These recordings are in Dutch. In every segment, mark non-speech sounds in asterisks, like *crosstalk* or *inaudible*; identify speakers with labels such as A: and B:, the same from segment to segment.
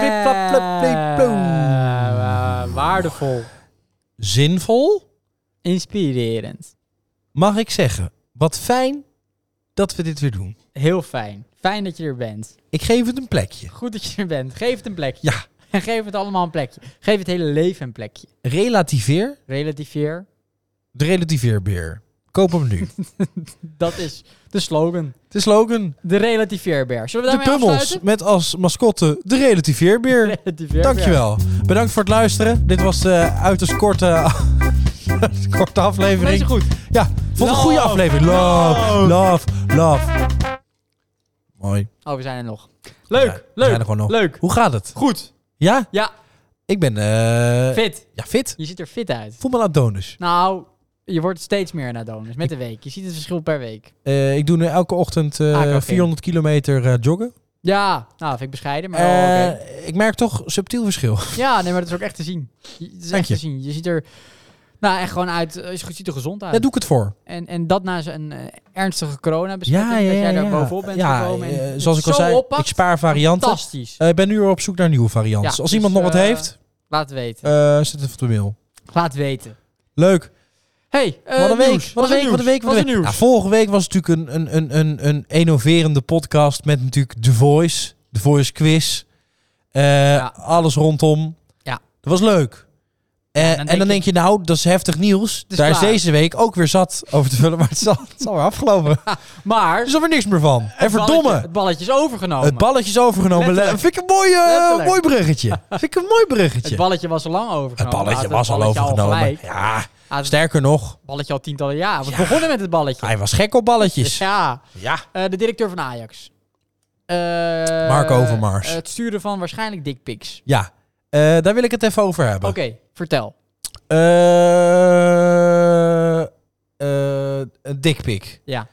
A: plop, plop, plop.
B: Eh, waardevol.
A: Zinvol,
B: Inspirerend.
A: mag ik zeggen. Wat fijn dat we dit weer doen.
B: Heel fijn. Fijn dat je er bent.
A: Ik geef het een plekje.
B: Goed dat je er bent. Geef het een plekje.
A: Ja.
B: En *laughs* geef het allemaal een plekje. Geef het hele leven een plekje.
A: Relativeer
B: Relativeer.
A: de relativeerbeer. Koop hem nu.
B: Dat is *laughs* de slogan.
A: de slogan.
B: De relativeerbeer. Zullen we
A: De
B: daarmee
A: Pummels
B: afsluiten? *laughs*
A: met als mascotte de relativeerbeer.
B: Relativeerbeer.
A: Dankjewel. Bedankt voor het luisteren. Dit was de uiterst korte, *laughs* korte
B: Deze
A: aflevering.
B: goed.
A: Ja, vond een
B: Love.
A: goede aflevering. Love, love, love. Mooi.
B: Oh, we zijn er nog. Leuk,
A: Ja, we
B: leuk,
A: zijn er gewoon nog.
B: leuk.
A: Hoe gaat het?
B: Goed.
A: Ja?
B: Ja,
A: Ik ben... eh,
B: fit.
A: Ja, fit.
B: Je ziet er fit uit.
A: Voel me een Adonis.
B: Nou, je wordt steeds meer naar donus met de week. Je ziet het verschil per week.
A: Eh, ik doe nu elke ochtend eh,
B: Aquafit.
A: 400 kilometer eh, joggen.
B: Ja, nou, vind ik bescheiden, maar wel
A: Eh,
B: oké. Ah.
A: Ik merk toch subtiel verschil.
B: Ja, nee, maar dat is ook echt te zien. Je- Het is
A: Dank
B: echt
A: je.
B: te zien. Je ziet er, nou, echt gewoon uit, eh, je ziet er gezond uit.
A: Daar doe ik het voor.
B: en, en dat na zo'n eh, ernstige coronabesmetting,
A: ja, ja,
B: Dus dat jij
A: ja.
B: daar
A: ja.
B: bovenop bent
A: Ja,
B: gekomen. en
A: eh,
B: het
A: zoals ik al
B: zo
A: zei,
B: oppakt.
A: ik spaar varianten.
B: Fantastisch.
A: Eh, Ik ben nu weer op zoek naar nieuwe varianten.
B: Ja,
A: Als
B: dus,
A: iemand nog wat
B: eh,
A: heeft,
B: Laat het weten.
A: eh zet het op de mail.
B: Laat weten.
A: Leuk.
B: Hey, eh,
A: wat een week.
B: nieuws.
A: Wat een week. Wat een week.
B: Wat
A: Wat
B: is
A: een
B: er
A: week. Ja,
B: nieuws?
A: vorige week was natuurlijk een, een, een, een, een innoverende podcast met natuurlijk The Voice. The Voice Quiz. Eh,
B: Ja.
A: Alles rondom.
B: Ja.
A: Dat was leuk. Eh,
B: dan
A: en
B: denk
A: dan
B: je-
A: denk je, nou, dat is heftig nieuws.
B: is
A: Daar is
B: klaar.
A: deze week ook weer zat over te vullen. *laughs* Maar het is al, het is alweer
B: *laughs*
A: afgelopen.
B: Maar
A: Er is alweer niks meer van. En
B: het balletje-
A: verdomme,
B: het balletje is overgenomen.
A: het balletje is overgenomen. Le-
B: Letterlijk.
A: Vind ik een mooi, eh,
B: Letterlijk.
A: mooi
B: *laughs*
A: bruggetje. Vind ik een mooi bruggetje.
B: Het balletje was al lang overgenomen.
A: Het balletje
B: Laten we
A: was
B: het
A: al
B: balletje
A: overgenomen.
B: gelijk-
A: ja,
B: laten we
A: sterker nog,
B: Het balletje al tientallen jaar. We begonnen met het balletje. Dus
A: hij was gek op balletjes.
B: Ja,
A: Ja.
B: eh, de directeur van Ajax. Eh,
A: Marco Overmars.
B: eh, het sturen van waarschijnlijk dickpics.
A: Ja, eh, daar wil ik het even over hebben.
B: Oké, vertel.
A: Eh, eh, een dikpik.
B: Ja.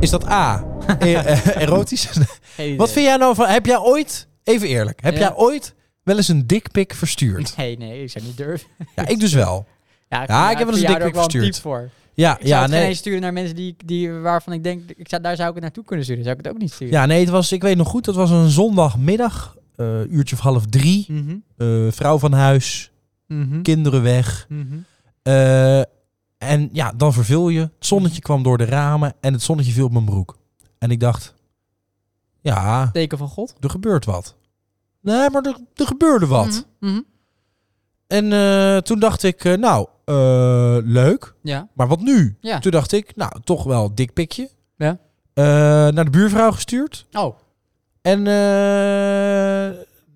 A: Is dat
B: *laughs*
A: A, e- eh, erotisch? *laughs* Wat vind jij nou van... Heb jij ooit, even eerlijk, heb
B: Ja.
A: jij ooit wel eens een dikpik
B: *laughs*
A: verstuurd?
B: Nee, nee, ik zou niet durven.
A: Ja, ik dus wel.
B: Ja, ik,
A: Ja, ik heb wel eens een
B: verjaardag
A: dickpic
B: wel type
A: verstuurd.
B: voor.
A: Ja,
B: Ik zou
A: ja
B: het geen
A: nee.
B: eens sturen naar mensen die, die, waarvan ik denk, ik zou, daar zou ik het naartoe kunnen sturen. Zou ik het ook niet sturen?
A: Ja, nee, het was, ik weet nog goed, het was een zondagmiddag, eh, uurtje of half drie.
B: Mhm,
A: Eh, vrouw van huis,
B: mhm,
A: kinderen weg.
B: mhm.
A: Eh, en ja, dan verveel je. Het zonnetje kwam door de ramen en het zonnetje viel op mijn broek. En ik dacht, ja,
B: Teken van God.
A: er gebeurt wat. Nee, maar er, er gebeurde wat.
B: Mhm, mhm.
A: En eh, toen dacht ik, eh, nou, eh, leuk,
B: Ja.
A: maar wat nu?
B: Ja.
A: Toen dacht ik, nou, toch wel een dik pikje.
B: Ja.
A: Eh, naar de buurvrouw gestuurd.
B: Oh,
A: En eh,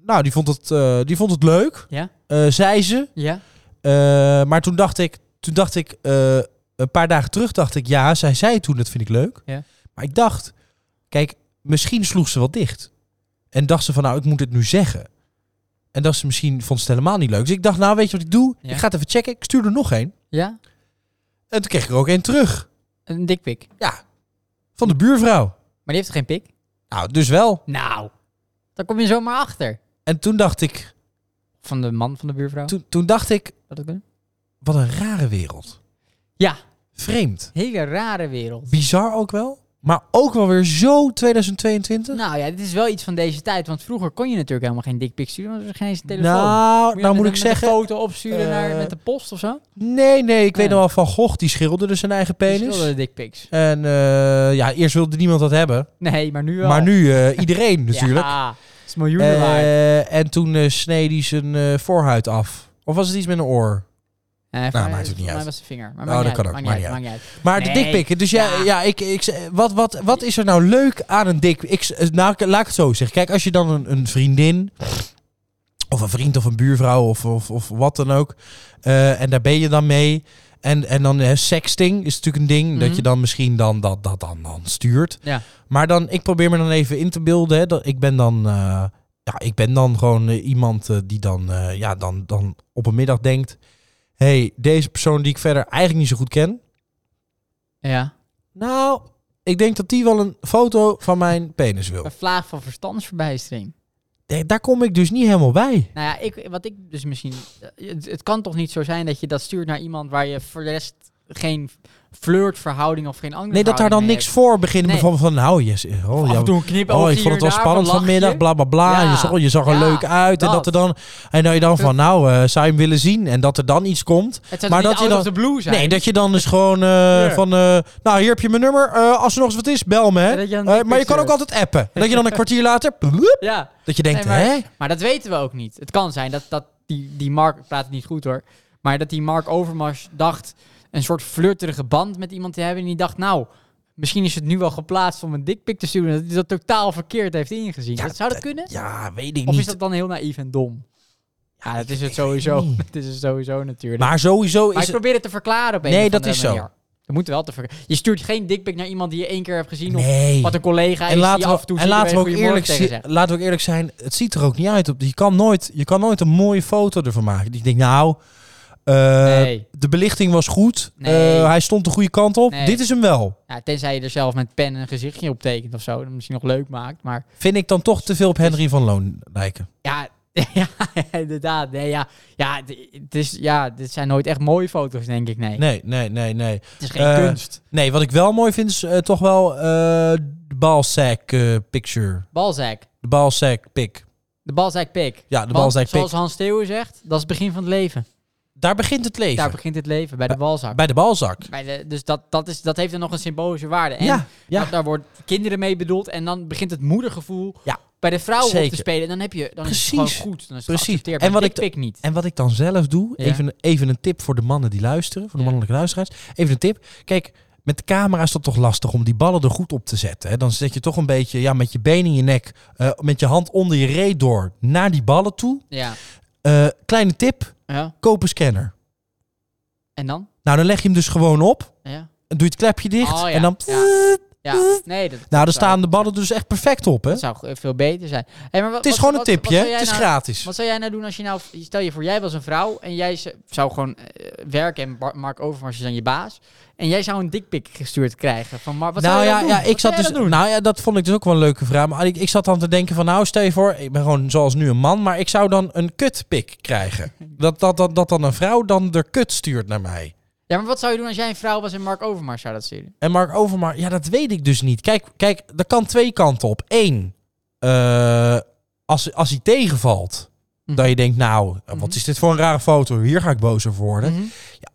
A: nou, die vond het, eh, die vond het leuk.
B: Ja.
A: Eh, zei ze.
B: ja.
A: Eh, maar toen dacht ik, toen dacht ik eh, een paar dagen terug dacht ik, ja, zij zei toen, dat vind ik leuk.
B: Ja.
A: Maar ik dacht, kijk, misschien sloeg ze wel dicht. En dacht ze van, nou, ik moet het nu zeggen. En dacht ze misschien, vond ze het helemaal niet leuk. Dus ik dacht, nou, weet je wat ik doe?
B: Ja.
A: Ik ga het even checken. Ik stuur er nog een.
B: Ja?
A: En toen kreeg ik er ook een terug.
B: Een dikpik.
A: Ja, van de buurvrouw.
B: Maar die heeft geen pik?
A: Nou, dus wel.
B: Nou, daar kom je zomaar achter.
A: En toen dacht ik,
B: Van de man van de buurvrouw?
A: toen, toen dacht ik,
B: Zou dat kunnen?
A: wat een rare wereld.
B: Ja,
A: Vreemd.
B: hele rare wereld.
A: Bizar ook wel. Maar ook wel weer zo 2022.
B: Nou ja, dit is wel iets van deze tijd. Want vroeger kon je natuurlijk helemaal geen dikpik sturen, want er was geen eens een telefoon.
A: Nou,
B: je
A: nou
B: met een-
A: moet ik
B: met
A: zeggen...
B: Een foto opsturen
A: eh,
B: naar, met de post of zo?
A: Nee, nee, ik weet
B: Nee.
A: nog wel van Gogh, die schilderde zijn eigen penis.
B: De dikpiks.
A: En eh, ja, eerst wilde niemand dat hebben.
B: Nee, maar nu wel.
A: Maar nu eh, iedereen
B: *laughs*
A: natuurlijk.
B: Ja, het is miljoenen waard.
A: Eh, en toen eh sneed hij zijn eh, voorhuid af. Of was het iets met een oor?
B: Nee, Eh, voor
A: nou,
B: mij-
A: maakt het niet
B: voor
A: uit.
B: mij was de vinger. Maar
A: Oh,
B: maakt niet uit,
A: dat kan ook,
B: Maakt niet
A: maakt
B: uit, maakt niet
A: Maar de
B: Nee.
A: dikpik. Dus ja,
B: Ja.
A: ja. ik, ik, wat, wat, wat is er nou leuk aan een dik? Ik, eh, nou, ik- laat ik het zo zeggen. Kijk, als je dan een, een vriendin... Of een vriend of een buurvrouw of, of, of wat dan ook. eh, en daar ben je dan mee. En, en dan eh, sexting is natuurlijk een ding.
B: Mhm.
A: Dat je dan misschien dan dat, dat dan, dan stuurt.
B: Ja.
A: Maar dan, ik probeer me dan even in te beelden. Hè, dat ik ben dan... eh, ja, ik ben dan gewoon eh, iemand eh, die dan, eh, ja, dan, dan op een middag denkt... hey, deze persoon die ik verder eigenlijk niet zo goed ken...
B: uit. Ja.
A: Nou, ik denk dat die wel een foto van mijn penis wil.
B: Een vlaag van verstandsverbijstering.
A: Nee, Daar kom ik dus niet helemaal bij.
B: Nou eh, ja, ik, wat ik dus misschien... Het, het kan toch niet zo zijn dat je dat stuurt naar iemand waar je voor de rest geen flirtverhouding of geen andere
A: Nee, dat daar dan niks voor beginnen.
B: Nee.
A: Bijvoorbeeld van, nou, yes, oh,
B: Oh,
A: ja,
B: af en toe een knipoogje
A: oh, ik
B: hier
A: vond het wel
B: en daar,
A: spannend
B: een lachje.
A: vanmiddag, bla bla bla.
B: Ja.
A: Je, zag, je zag er
B: Ja,
A: leuk uit. En dat
B: dat.
A: er dan. En dat je dan van, nou, eh zou je hem willen zien? En dat er dan iets komt.
B: Het zou
A: Maar
B: maar niet
A: dat je
B: out
A: dan-
B: of the blue zijn.
A: Nee, dat je dan dus gewoon eh, van, eh, nou, hier heb je mijn nummer. Eh, als er nog eens wat is, bel me. Hè.
B: Ja, dat je dan
A: Eh,
B: niks
A: maar je kan ook
B: hebt.
A: altijd appen. En dat je dan een kwartier later, bloep,
B: Ja,
A: dat je denkt,
B: Nee, maar-
A: hè?
B: maar dat weten we ook niet. Het kan zijn dat, dat die, die Mark, ik praat het niet goed hoor, maar dat die Mark Overmars dacht een soort flirterige band met iemand te hebben. En die dacht, nou, misschien is het nu wel geplaatst om een dikpik te sturen. Dat hij dat totaal verkeerd heeft ingezien.
A: Ja,
B: dat, zou dat
A: dat-
B: kunnen?
A: Ja, weet ik
B: Of
A: niet.
B: is dat dan heel naïef en dom? Ja, dat is het
A: weet
B: sowieso.
A: het
B: Dat is het sowieso natuurlijk. Maar,
A: Maar sowieso is
B: ik
A: het.
B: probeer het te verklaren op een
A: Nee,
B: of
A: dat
B: andere
A: is zo.
B: manier. Dat moet wel te verklaren. Je stuurt geen dikpik naar iemand die je één keer hebt gezien of
A: Nee.
B: wat een collega
A: En
B: is
A: laten
B: die
A: we,
B: af en toe
A: en laten we ook eerlijk
B: zijn.
A: zi- laten we ook eerlijk zijn, het ziet er ook niet uit. op- Je kan nooit, je kan nooit een mooie foto ervan maken. Ik denk, nou, eh,
B: Nee.
A: de belichting was goed.
B: Nee.
A: Eh, hij stond de goede kant op.
B: Nee.
A: Dit is hem wel.
B: Ja, tenzij je er zelf met pen een gezichtje op tekent of zo. Dat misschien nog leuk maakt. Maar
A: Vind ik dan toch te veel op Henry van Loon lijken.
B: ja, *laughs* ja inderdaad. Nee, ja, ja, d- het is, ja, dit zijn nooit echt mooie foto's, denk ik. Nee,
A: Nee, nee, nee, nee.
B: het is geen
A: eh,
B: kunst.
A: Nee, wat ik wel mooi vind is eh, toch wel eh, de Balzac eh, picture.
B: Balzac.
A: De Balzac pic.
B: De Balzac pick.
A: Ja,
B: Want,
A: de Balzac pic.
B: Zoals Hans Theeuwen zegt, dat is het begin van het leven.
A: Daar begint het leven.
B: Daar begint het leven, bij de Balzac.
A: Bij de Balzac.
B: Bij de, dus dat, dat, is, dat heeft dan nog een symbolische waarde. En
A: ja, ja.
B: dat- daar wordt kinderen mee bedoeld. En dan begint het moedergevoel
A: Ja.
B: bij de vrouw op
A: Zeker.
B: te spelen. En dan, heb je, dan is het
A: Precies.
B: gewoon goed. Dan is het
A: Precies.
B: geaccepteerd.
A: En
B: Maar
A: wat ik
B: dikpik niet.
A: En wat ik dan zelf doe,
B: Ja.
A: even, even een tip voor de mannen die luisteren, voor de
B: Ja.
A: mannelijke luisteraars. Even een tip. Kijk, met de camera is dat toch lastig om die ballen er goed op te zetten. Hè? Dan zet je toch een beetje ja, met je been in je nek, eh, met je hand onder je reet door naar die ballen toe.
B: Ja.
A: Eh, kleine tip,
B: ja.
A: koop een scanner.
B: En dan?
A: Nou, dan leg je hem dus gewoon op.
B: Ja.
A: Dan doe je het klepje dicht
B: Oh, ja.
A: en dan...
B: Ja. Ja, nee, dat,
A: Nou, daar
B: zou-
A: staan de ballen dus echt perfect op, hè?
B: dat zou ge- veel beter zijn. Hey, maar wat,
A: Het is
B: wat-
A: gewoon een
B: wat-
A: tipje,
B: wat
A: hè?
B: zou jij
A: Het is
B: nou-
A: gratis.
B: Wat zou jij nou doen als je nou... Stel je voor, jij was een vrouw en jij z- zou gewoon eh, werken en Bar- Mark Overmars is dan je baas. En jij zou een dikpik gestuurd krijgen van Mark. Wat
A: nou
B: zou jij
A: ja,
B: dan doen?
A: ja, ik
B: Wat zou
A: zat
B: jij
A: dus.
B: dan doen?
A: Nou ja, dat vond ik dus ook wel een leuke vraag. Maar ik, ik zat dan te denken van, nou, stel je voor, ik ben gewoon zoals nu een man, maar ik zou dan een kutpik
B: *laughs*
A: krijgen. Dat, dat, dat, dat dan een vrouw dan de kut stuurt naar mij.
B: Ja, maar wat zou je doen als jij een vrouw was en Mark Overmars zou dat sturen?
A: En Mark Overmar, ja, dat weet ik dus niet. Kijk, kijk, dat kan twee kanten op. Eén, eh, als, als hij tegenvalt,
B: Mhm.
A: dat je denkt, nou,
B: Mhm.
A: wat is dit voor een rare foto? Hier ga ik boos over worden.
B: Mhm.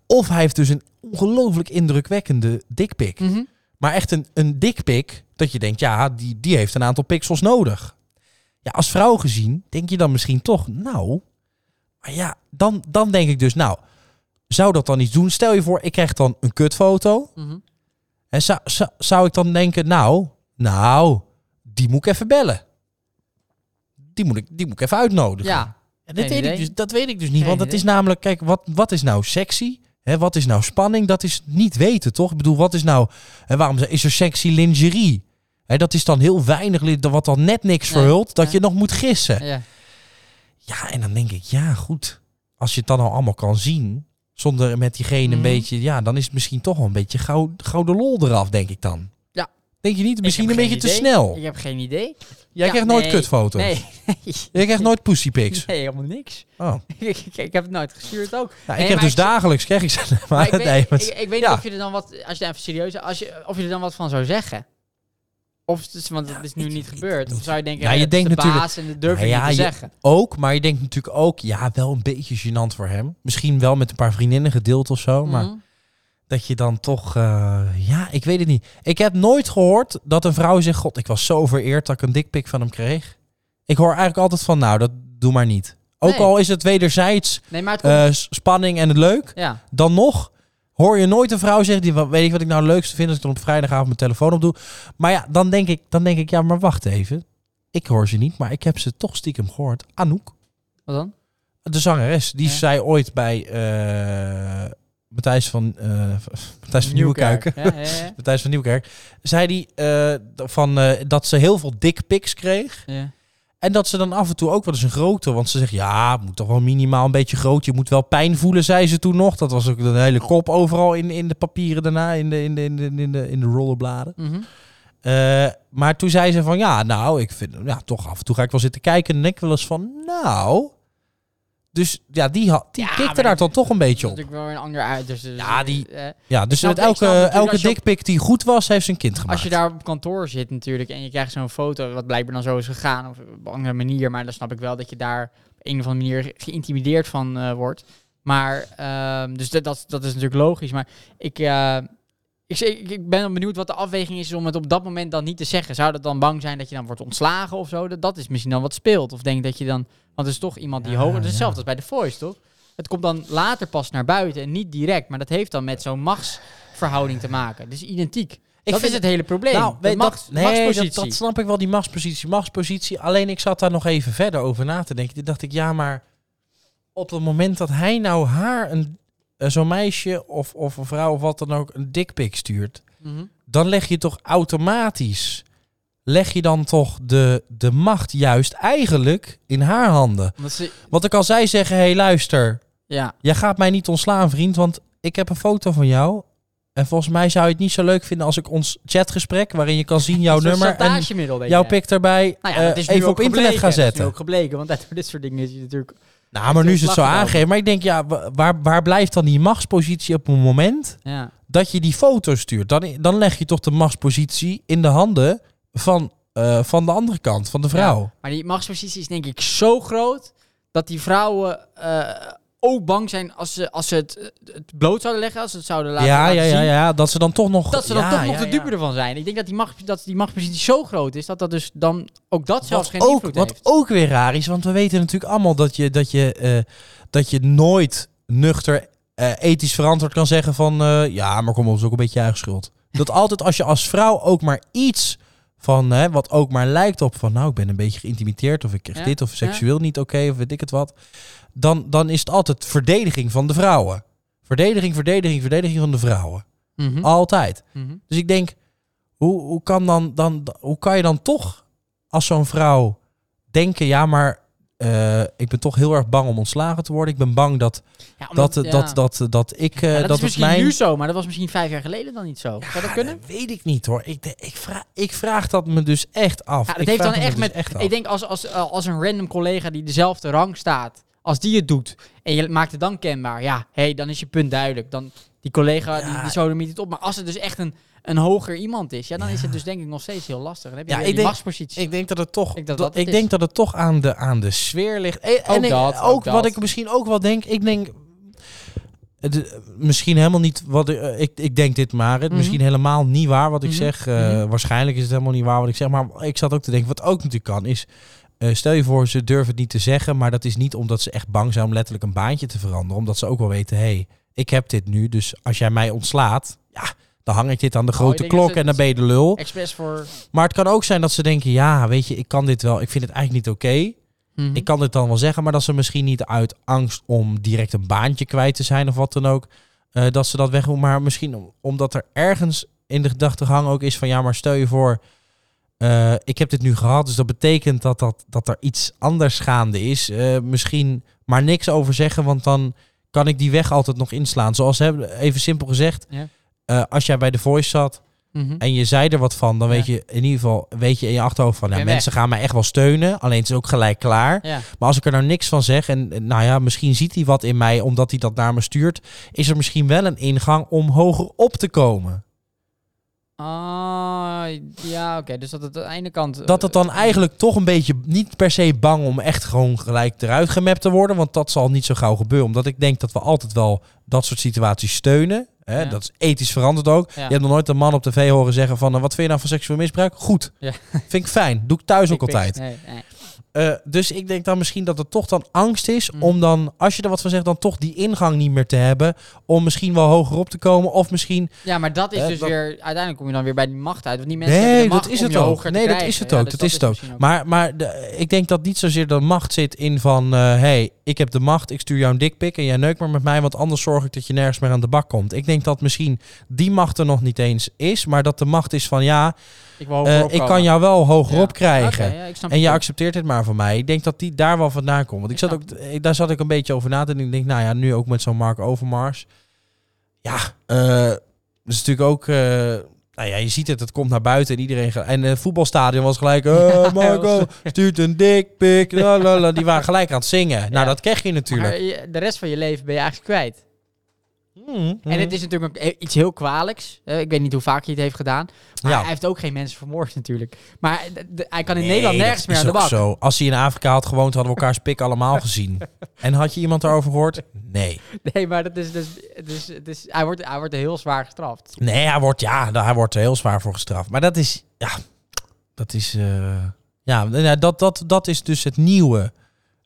A: Of hij heeft dus een ongelooflijk indrukwekkende dikpik.
B: Mhm.
A: Maar echt een, een dikpik, dat je denkt, ja, die, die heeft een aantal pixels nodig. Ja, als vrouw gezien, denk je dan misschien toch, nou... Maar ja, dan, dan denk ik dus, nou, zou dat dan iets doen? Stel je voor, ik krijg dan een kutfoto.
B: Mhm.
A: En zou, zou, zou ik dan denken, nou, nou, die moet ik even bellen. Die moet ik, die moet ik even uitnodigen.
B: Ja,
A: En dit
B: Geen
A: weet ik
B: idee.
A: dus, dat weet ik dus niet.
B: Geen
A: Want het
B: idee.
A: is namelijk, kijk, wat, wat is nou sexy? Hè, wat is nou spanning? Dat is niet weten, toch? Ik bedoel, wat is nou... Hè, waarom ze- is er sexy lingerie? Hè, dat is dan heel weinig, li- wat dan net niks
B: Ja,
A: verhult... dat
B: ja.
A: je nog moet gissen.
B: ja.
A: Ja, en dan denk ik, ja, goed. Als je het dan al allemaal kan zien... zonder met diegene
B: Mhm.
A: een beetje... ja, dan is het misschien toch wel een beetje gauw, gouden lol eraf, denk ik dan.
B: Ja.
A: Denk je niet? Misschien een
B: Ik heb
A: beetje te
B: geen idee.
A: snel.
B: Ik heb geen idee.
A: Jij
B: Ja,
A: krijgt nooit
B: nee.
A: kutfoto's.
B: Nee. *laughs*
A: Jij krijgt nooit pussypics.
B: Nee, helemaal niks. *laughs*
A: Oh.
B: ik, ik, ik heb het nooit gestuurd ook.
A: Ja, ik
B: Nee,
A: heb
B: maar
A: dus
B: ik-
A: dagelijks, krijg ik ze. Maar,
B: Maar ik, weet,
A: *laughs* nee, maar
B: ik, ik weet
A: ja.
B: niet of je er dan wat, als je even serieus, als je, of je er dan wat van zou zeggen. Of, het is- want dat is nu
A: ik-
B: niet
A: ik-
B: gebeurd. Of zou je denken,
A: Ja,
B: ja,
A: je
B: het is
A: denkt
B: de
A: natuurlijk-
B: baas en dat durf je
A: Nou
B: niet
A: ja,
B: te
A: je-
B: zeggen.
A: ook, maar je denkt natuurlijk ook, ja, wel een beetje gênant voor hem. Misschien wel met een paar vriendinnen gedeeld of zo, maar
B: Mhm.
A: dat je dan toch, eh, ja, ik weet het niet. Ik heb nooit gehoord dat een vrouw zegt, god, ik was zo vereerd dat ik een dikpik van hem kreeg. Ik hoor eigenlijk altijd van, nou, dat doe maar niet. Ook
B: Nee.
A: al is het wederzijds
B: Nee, maar het komt...
A: eh, s- spanning en het leuk,
B: ja.
A: dan nog hoor je nooit een vrouw zeggen, die, "Wat- weet ik wat ik nou het leukste vind als ik dan op vrijdagavond mijn telefoon opdoe. Maar ja, dan denk ik, dan denk ik ja, maar wacht even. Ik hoor ze niet, maar ik heb ze toch stiekem gehoord. Anouk.
B: Wat dan?
A: De zangeres, die
B: Ja.
A: zei ooit bij eh Matthijs van, eh Matthijs van Nieuwkerk.
B: Ja, ja, ja.
A: Matthijs van Nieuwkerk. Zei die eh, d- van, eh, dat ze heel veel dick pics kreeg.
B: Ja.
A: En dat ze dan af en toe ook wel eens een grote. Want ze zegt, ja, het moet toch wel minimaal een beetje groot. Je moet wel pijn voelen, zei ze toen nog. Dat was ook een hele kop overal in, in de papieren daarna. In de, in de, in de, in de, in de rollenbladen.
B: Mhm.
A: Eh, maar toen zei ze van, ja, nou, ik vind, ja, toch af en toe ga ik wel zitten kijken. En denk ik wel eens van, nou, Dus ja, die, ha- die
B: Ja,
A: kikte
B: maar
A: daar
B: dat-
A: dan toch een beetje
B: Dat
A: op.
B: is natuurlijk wel weer een ander uit. Dus, dus,
A: Ja, die-
B: eh,
A: Ja, dus
B: snap-
A: met
B: ik
A: elke,
B: snap natuurlijk
A: elke
B: als je op-
A: dikpik die goed was, heeft ze een kind gemaakt.
B: als je daar op kantoor zit natuurlijk en je krijgt zo'n foto, wat blijkbaar dan zo is gegaan, of op een andere manier, maar dan snap ik wel dat je daar op een of andere manier geïntimideerd van eh, wordt. Maar, ehm, dus dat, dat, dat is natuurlijk logisch, maar ik, eh, ik, zeg- ik, ik ben dan benieuwd wat de afweging is om het op dat moment dan niet te zeggen. Zou dat dan bang zijn dat je dan wordt ontslagen of zo? Dat, dat is misschien dan wat speelt. Of denk dat je dan, want het is toch iemand die
A: Ja,
B: hoger, het
A: ja.
B: is hetzelfde als bij de Voice, toch? Het komt dan later pas naar buiten en niet direct, maar dat heeft dan met zo'n machtsverhouding te maken. Dus identiek.
A: Ik
B: dat
A: vind
B: is het hele probleem.
A: Nou,
B: de
A: weet-
B: machts-
A: dat, nee, dat,
B: machtspositie.
A: dat snap ik wel, die machtspositie, machtspositie. Alleen ik zat daar nog even verder over na te denken. Toen dacht ik, ja, maar op het moment dat hij nou haar, een, eh, zo'n meisje of, of een vrouw of wat dan ook, een dikpik stuurt,
B: Mhm.
A: dan leg je toch automatisch, leg je dan toch de, de macht juist eigenlijk in haar handen.
B: Omdat ze,
A: Want dan kan zij zeggen, hé hey, luister,
B: ja,
A: Jij gaat mij niet ontslaan, vriend, want ik heb een foto van jou. En volgens mij zou je het niet zo leuk vinden als ik ons chatgesprek, waarin je kan
B: *laughs*
A: zien jouw
B: een soort
A: nummer en
B: chantagemiddel, weet
A: jouw
B: je.
A: pik erbij,
B: Nou ja, dat
A: eh,
B: is nu
A: even
B: ook
A: op internet
B: gebleken.
A: gaan
B: Dat is nu
A: zetten.
B: ook gebleken, want *laughs* uit dit soort dingen is je natuurlijk...
A: Nou, maar nu is het zo
B: Lachen dan.
A: aangegeven. Maar ik denk, ja, wa- waar, waar blijft dan die machtspositie op het moment
B: Ja.
A: dat je die foto stuurt? Dan, dan leg je toch de machtspositie in de handen van, eh, van de andere kant, van de vrouw.
B: Maar die machtspositie is denk ik zo groot... dat die vrouwen eh, ook bang zijn als ze, als ze het, eh, het bloot zouden leggen... als ze het zouden
A: Ja,
B: laten,
A: ja,
B: laten
A: ja,
B: zien...
A: ja, dat ze dan toch nog...
B: dat ze dan
A: ja,
B: toch nog
A: ja,
B: de dupe
A: ja.
B: ervan zijn. Ik denk dat die, macht, dat die machtspositie zo groot is... dat dat dus dan ook dat zelfs geen
A: ook,
B: invloed
A: wat
B: heeft.
A: ook weer raar is, want we weten natuurlijk allemaal dat je, dat je, eh, dat je nooit nuchter eh, ethisch verantwoord kan zeggen van... eh, ja, maar kom op, het is ook een beetje je eigen schuld. Dat altijd als je als vrouw ook maar iets van, hè, wat ook maar lijkt op van... nou, ik ben een beetje geïntimideerd of ik kreeg
B: Ja,
A: dit of
B: ja.
A: seksueel niet oké of weet ik het wat. Dan, dan is het altijd verdediging van de vrouwen. Verdediging, verdediging, verdediging van de vrouwen.
B: Mhm,
A: Altijd.
B: mhm.
A: Dus ik denk, hoe, hoe, kan, dan, dan, hoe kan je dan toch als zo'n vrouw denken, ja, maar eh, ik ben toch heel erg bang om ontslagen te worden. Ik ben bang dat,
B: Ja, omdat-
A: dat, dat,
B: ja.
A: dat, dat, ik, eh,
B: Ja,
A: dat,
B: Nou, dat, is
A: het
B: misschien
A: mijn...
B: nu zo, maar dat was misschien vijf jaar geleden dan niet zo. Zou dat
A: Ja,
B: kunnen?
A: weet ik niet hoor. Ik, de- ik, vraag, ik vraag dat me dus echt af.
B: Ja, dat
A: Ik
B: heeft
A: vraag
B: dan
A: me
B: echt
A: dus
B: met.
A: af.
B: ik denk als, als, eh, als een random collega die dezelfde rang staat, als die het doet en je maakt het dan kenbaar, ja, hé, hey, dan is je punt duidelijk. Dan die collega
A: Ja.
B: die, die sodemiet het op. Maar als het dus echt een, een hoger iemand is, ja, dan is het dus denk ik nog steeds heel lastig. Dan heb je
A: Ja,
B: weer
A: ik
B: die
A: denk-
B: machtspositie.
A: Ik denk dat het toch,
B: Ik denk
A: dat
B: dat dat het
A: ik
B: is.
A: denk dat het toch aan, de, aan de sfeer ligt. En, en
B: Ook
A: ik-
B: dat,
A: ook,
B: ook
A: wat
B: dat.
A: ik misschien ook wel denk. Ik denk. het, eh, misschien helemaal niet wat ik- eh, ik, ik denk dit maar. Het
B: Mhm.
A: Misschien helemaal niet waar wat ik
B: Mhm.
A: zeg. Eh,
B: Mhm.
A: Waarschijnlijk is het helemaal niet waar wat ik zeg. Maar ik zat ook te denken, wat ook natuurlijk kan, is. eh, stel je voor, ze durven het niet te zeggen, maar dat is niet omdat ze echt bang zijn om letterlijk een baantje te veranderen. Omdat ze ook wel weten, hé, hey, ik heb dit nu, dus als jij mij ontslaat, ja, dan hang ik dit aan de
B: Oh, ik
A: grote
B: denk dat
A: klok
B: ze-
A: en dan ben je de lul.
B: Express voor.
A: Maar het kan ook zijn dat ze denken, ja, weet je, ik kan dit wel, ik vind het eigenlijk niet oké.
B: Mhm.
A: Ik kan dit dan wel zeggen, maar dat ze misschien niet uit angst om direct een baantje kwijt te zijn of wat dan ook, eh, dat ze dat weg doen. Maar misschien om- omdat er ergens in de gedachtegang ook is van, ja, maar stel je voor, eh, ik heb dit nu gehad, dus dat betekent dat, dat, dat er iets anders gaande is. Eh, misschien maar niks over zeggen, want dan kan ik die weg altijd nog inslaan. Zoals, hè, even simpel gezegd,
B: Ja.
A: eh, als jij bij The Voice zat
B: Mhm.
A: en je zei er wat van, dan
B: Ja.
A: weet je in ieder geval weet je in je achterhoofd van, nou,
B: Ik ben
A: mensen gaan mij echt wel steunen, alleen het is ook gelijk klaar.
B: Ja.
A: Maar als ik er nou niks van zeg en eh, nou ja, misschien ziet hij wat in mij omdat hij dat naar me stuurt, is er misschien wel een ingang om hoger op te komen.
B: Ah, ja, oké. Dus dat het aan de ene kant. eh,
A: Dat het dan eigenlijk toch een beetje niet per se bang om echt gewoon gelijk eruit gemapt te worden, want dat zal niet zo gauw gebeuren, omdat ik denk dat we altijd wel dat soort situaties steunen. Hè,
B: Ja.
A: Dat is ethisch veranderd ook.
B: Ja.
A: Je hebt nog nooit een man op tv horen zeggen van... eh, wat vind je nou van seksueel misbruik? Goed.
B: Ja.
A: Vind ik fijn. Doe ik thuis ook
B: Dick pics.
A: altijd.
B: Nee, nee.
A: Eh, dus ik denk dan misschien dat het toch dan angst is
B: Mm.
A: om dan, als je er wat van zegt, dan toch die ingang niet meer te hebben. Om misschien wel hoger op te komen. Of misschien.
B: Ja, maar dat is
A: Eh,
B: dus
A: dat-
B: weer. Uiteindelijk kom je dan weer bij die macht uit. Want die mensen hebben
A: Nee,
B: de macht
A: dat is
B: om
A: het
B: je
A: ook.
B: hoger te
A: Nee, dat
B: krijgen.
A: is het
B: Ja,
A: ook.
B: dus
A: dat is het ook.
B: misschien ook.
A: Maar, maar de- ik denk dat niet zozeer de macht zit in van. eh hey, ik heb de macht, ik stuur jou een dikpik en jij neukt maar met mij. Want anders zorg ik dat je nergens meer aan de bak komt. Ik denk dat misschien die macht er nog niet eens is. Maar dat de macht is van ja,
B: Ik, wil
A: eh,
B: hogerop
A: ik kan
B: komen.
A: jou wel hoger
B: Ja.
A: op krijgen.
B: Oké, ja, ik snap
A: En
B: het
A: je
B: ook.
A: accepteert het maar van mij. Ik denk dat die daar wel vandaan komt. Want ik
B: Ik
A: zat ook,
B: snap
A: ik- daar zat ik een beetje over na te denken. Ik denk, nou ja, nu ook met zo'n Mark Overmars. Ja, eh, dat is natuurlijk ook... eh, Nou ja, je ziet het, het komt naar buiten en iedereen... gaat- En het voetbalstadion
B: *laughs*
A: was gelijk... Oh, Marco, stuurt een dikpik. La, la, la. Die waren gelijk aan het zingen. Nou, dat kreeg je natuurlijk.
B: Maar je- de rest van je leven ben je eigenlijk kwijt.
A: Mm, mm.
B: En het is natuurlijk ook, eh, iets heel kwalijks. Eh, ik weet niet hoe vaak hij het heeft gedaan. Maar
A: Ja.
B: Ah, hij heeft ook geen mensen vermoord natuurlijk. Maar eh, d- d- hij kan in
A: Nee,
B: Nederland
A: dat
B: nergens meer
A: is
B: aan de
A: ook
B: bak.
A: Zo. Als hij in Afrika had gewoond, hadden we elkaars pik allemaal
B: *laughs*
A: gezien. En had je iemand daarover gehoord? Nee.
B: Nee, maar dat is dus, het is, het is, hij, wordt, hij wordt heel zwaar gestraft.
A: Nee, hij wordt, ja, daar- hij wordt er heel zwaar voor gestraft. Maar dat is, ja, dat is, eh, ja, nou ja, dat, dat, dat is dus het nieuwe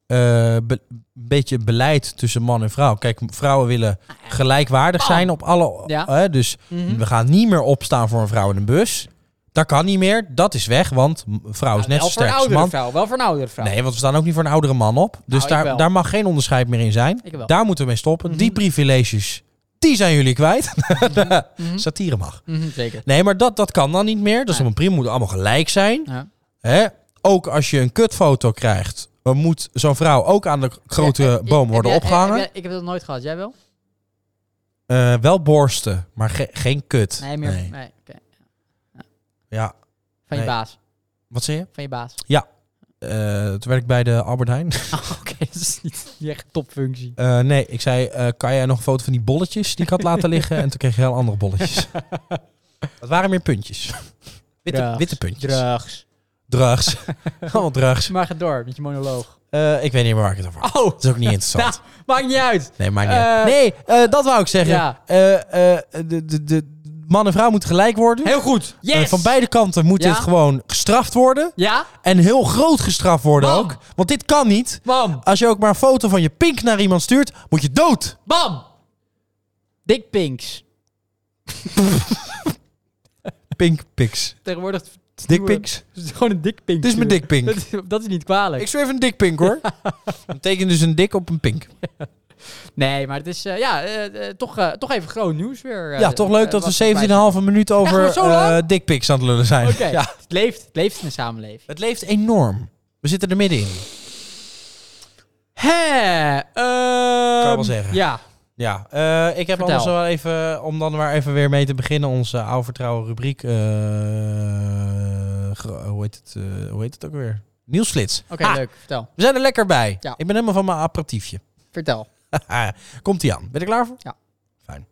A: eh, be- beetje beleid tussen man en vrouw. Kijk, vrouwen willen gelijkwaardig
B: Bam.
A: zijn op alle,
B: Ah, Oh. Ja. Hm?
A: hè, dus
B: Mhm.
A: we gaan niet meer opstaan voor een vrouw in een bus. Dat kan niet meer, dat is weg, want m- vrouw is
B: Nou,
A: net zo
B: wel voor een
A: sterk als
B: oudere
A: man.
B: vrouw. Wel voor een oudere vrouw. Nou,
A: Nee, want we staan ook niet voor een oudere man op. Dus
B: ik wel.
A: daar, daar mag geen onderscheid meer in zijn.
B: Ik wel.
A: Daar moeten we mee stoppen.
B: Mhm.
A: Die privileges, die zijn jullie kwijt. *laughs*
B: Mhm.
A: Satire mag.
B: Mhm, zeker.
A: Nee, maar dat, dat kan dan niet meer. Dus
B: Nee.
A: op een prima moet allemaal gelijk zijn.
B: Ja.
A: Hè? Ook als je een kutfoto krijgt, dan moet zo'n vrouw ook aan de grote
B: Eh, eh,
A: boom
B: eh,
A: worden
B: heb jij-
A: opgehangen.
B: heb jij- ik heb dat nooit gehad. Jij wel?
A: Eh, wel borsten, maar ge- geen kut.
B: Nee, meer. Nee. oké.
A: Ja,
B: Van je
A: Nee.
B: baas.
A: wat zei je?
B: Van je
A: *laughs*
B: baas.
A: Eh, toen werk ik bij de Albert Heijn. *laughs*
B: Oh, Oké, dat is *laughs* niet, niet echt een topfunctie.
A: Eh, nee, ik zei, eh, kan jij nog een foto van die bolletjes die ik had laten liggen? En toen kreeg je heel andere
B: *laughs*
A: bolletjes. Dat waren meer puntjes. Witte,
B: Drugs.
A: witte puntjes.
B: Drugs.
A: drugs. *laughs* Allemaal drugs.
B: Maar ga door met je monoloog.
A: Eh, ik weet niet meer waar ik het over had.
B: Oh,
A: Dat is ook
B: *laughs*
A: niet interessant.
B: nou, maakt niet uit.
A: Nee, maar niet.
B: Eh,
A: uit. nee, eh, dat wou ik zeggen.
B: Ja.
A: Eh, eh, de, de, de man en vrouw moeten gelijk worden.
B: Heel goed. Yes.
A: *laughs* Eh, van beide kanten moet
B: Ja.
A: dit gewoon gestraft worden.
B: Ja?
A: En heel groot gestraft worden
B: Bam.
A: ook. Want dit kan niet.
B: Bam.
A: Als je ook maar een foto van je pink naar iemand stuurt, moet je dood.
B: Bam. Dickpinks.
A: Pink pics.
B: Tegenwoordig...
A: Dick
B: *laughs*
A: pics.
B: Het is gewoon een dickpink.
A: Dit is mijn
B: natuurlijk. *laughs*
A: dickpink.
B: Dat, is- dat is niet kwalijk.
A: Ik stuur even een
B: *laughs*
A: dikpink hoor. Dat betekent dus een dik op een pink.
B: Nee, maar het is... eh, ja, eh, eh, toch, eh, toch even groot nieuws weer. eh,
A: ja, toch leuk
B: eh,
A: dat
B: wat
A: we 17,5
B: Echt,
A: minuut
B: maar
A: over
B: zo lang?
A: eh dikpiks aan het lullen zijn.
B: erbij- Oké,
A: *laughs* Ja.
B: het leeft. Het leeft in de samenleving.
A: Het leeft enorm. We zitten er middenin.
B: Hè? Kan
A: je wel zeggen.
B: Ja.
A: Ja, eh, ik heb
B: Vertel.
A: anders wel even, om dan maar even weer mee te beginnen, onze oude vertrouwen rubriek. eh, gro- hoe, heet het, eh, hoe heet het ook weer? Nieuwsflits.
B: Oké,
A: Ah,
B: leuk. Vertel.
A: We zijn er lekker bij.
B: Ja.
A: Ik ben helemaal van mijn aperitiefje. *laughs*
B: Vertel.
A: Komt ie aan. Ben je er klaar voor?
B: Ja.
A: Fijn.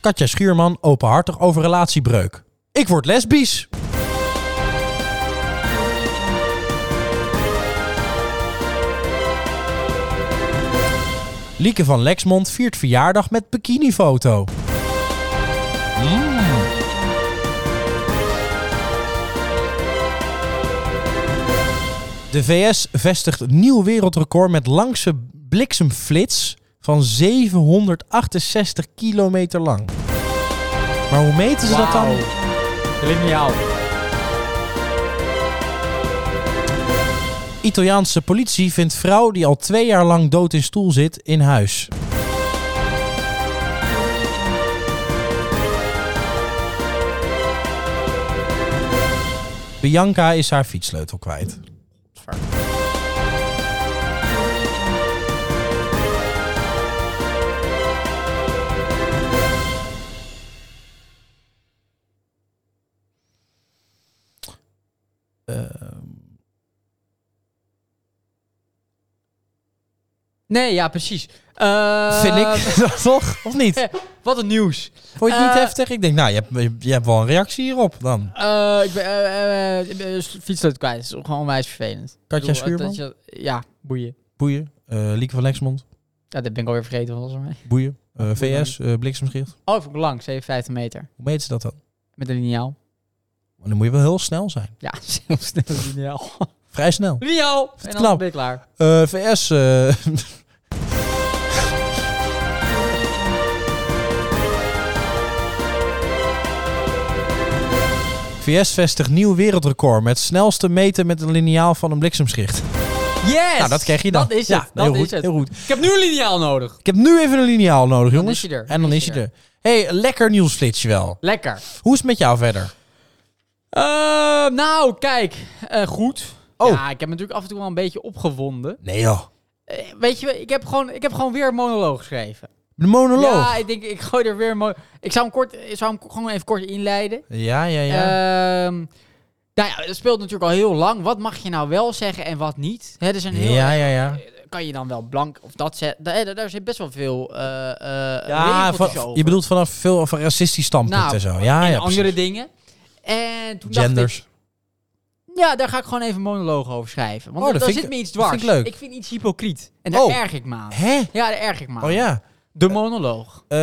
A: Katja Schuurman, openhartig over relatiebreuk. Ik word lesbisch. Lieke van Lexmond viert verjaardag met bikinifoto. De VS vestigt een nieuw wereldrecord met langse bliksemflits van 768 kilometer lang. Maar hoe meten ze dat dan?
B: Lineaal.
A: Italiaanse politie vindt vrouw die al twee jaar lang dood in stoel zit in huis. Bianca is haar fietssleutel kwijt. Eh,
B: Nee, ja, precies. Eh,
A: Vind
B: *laughs*
A: ik dat *laughs* toch? Of niet?
B: Wat een nieuws.
A: Vond je het niet
B: Eh,
A: heftig? Ik denk, nou, je hebt, je- je hebt wel een reactie hierop dan.
B: Eh, ik ben eh, eh, ik ben, eh, fietssleutel kwijt. Dat is gewoon onwijs vervelend.
A: Katja
B: Ik bedoel, eh,
A: Schuurman?
B: dat je- Ja, boeien.
A: Boeien. Eh, Lieke van Lexmond.
B: Ja, dat ben ik alweer vergeten volgens mij.
A: Boeien. Eh, VS. eh bliksemschicht.
B: Oh, ik lang, 57 meter.
A: Hoe meten ze dat dan?
B: Met een liniaal.
A: Maar dan moet je wel heel snel zijn.
B: Ja, *laughs* heel snel een liniaal.
A: Vrij snel.
B: Liniaal! En dan
A: knap.
B: ben ik klaar.
A: Eh, VS. eh, *laughs* VS vestigt nieuw wereldrecord met snelste meten met een liniaal van een bliksemschicht.
B: Yes!
A: Nou, dat krijg je dan.
B: Dat is
A: Ja,
B: het. Dat
A: heel
B: is
A: goed,
B: het.
A: heel goed.
B: Ik heb nu een liniaal nodig.
A: Ik heb nu even een liniaal nodig, jongens.
B: is hij er.
A: En dan is je er. hey, lekker nieuwsflitsje wel.
B: Lekker.
A: Hoe is het met jou verder?
B: Eh, nou, kijk. Eh, goed.
A: Oh.
B: Ja, ik heb me natuurlijk af en toe wel een beetje opgewonden.
A: Nee joh.
B: Eh, Weet je, ik heb gewoon, ik heb gewoon weer een monoloog geschreven.
A: De monoloog.
B: Ja, ik denk, ik gooi er weer een monoloog. Ik zou hem, kort, ik zou hem gewoon even kort inleiden.
A: Ja, ja, ja.
B: Ehm, nou ja, het speelt natuurlijk al heel lang. Wat mag je nou wel zeggen en wat niet? Hè, er zijn heel,
A: ja, ja, ja.
B: Kan je dan wel blank of dat zetten? Daar, daar- daar zit best wel veel eh eh,
A: Ja,
B: regeltjes
A: van-
B: over.
A: je bedoelt vanaf veel van racistisch standpunt
B: Nou,
A: en zo. Ja,
B: en
A: ja,
B: andere
A: precies.
B: dingen. En toen dacht
A: Genders.
B: ik, ja, daar ga ik gewoon even een monoloog over schrijven. Want
A: Oh, dat
B: daar
A: vind
B: zit
A: ik-
B: me iets
A: dat
B: dwars.
A: vind ik leuk.
B: vind iets hypocriet. En daar
A: Oh.
B: erg ik me aan.
A: Hè?
B: Ja, daar erg ik me aan.
A: Oh ja.
B: De monoloog.
A: Eh,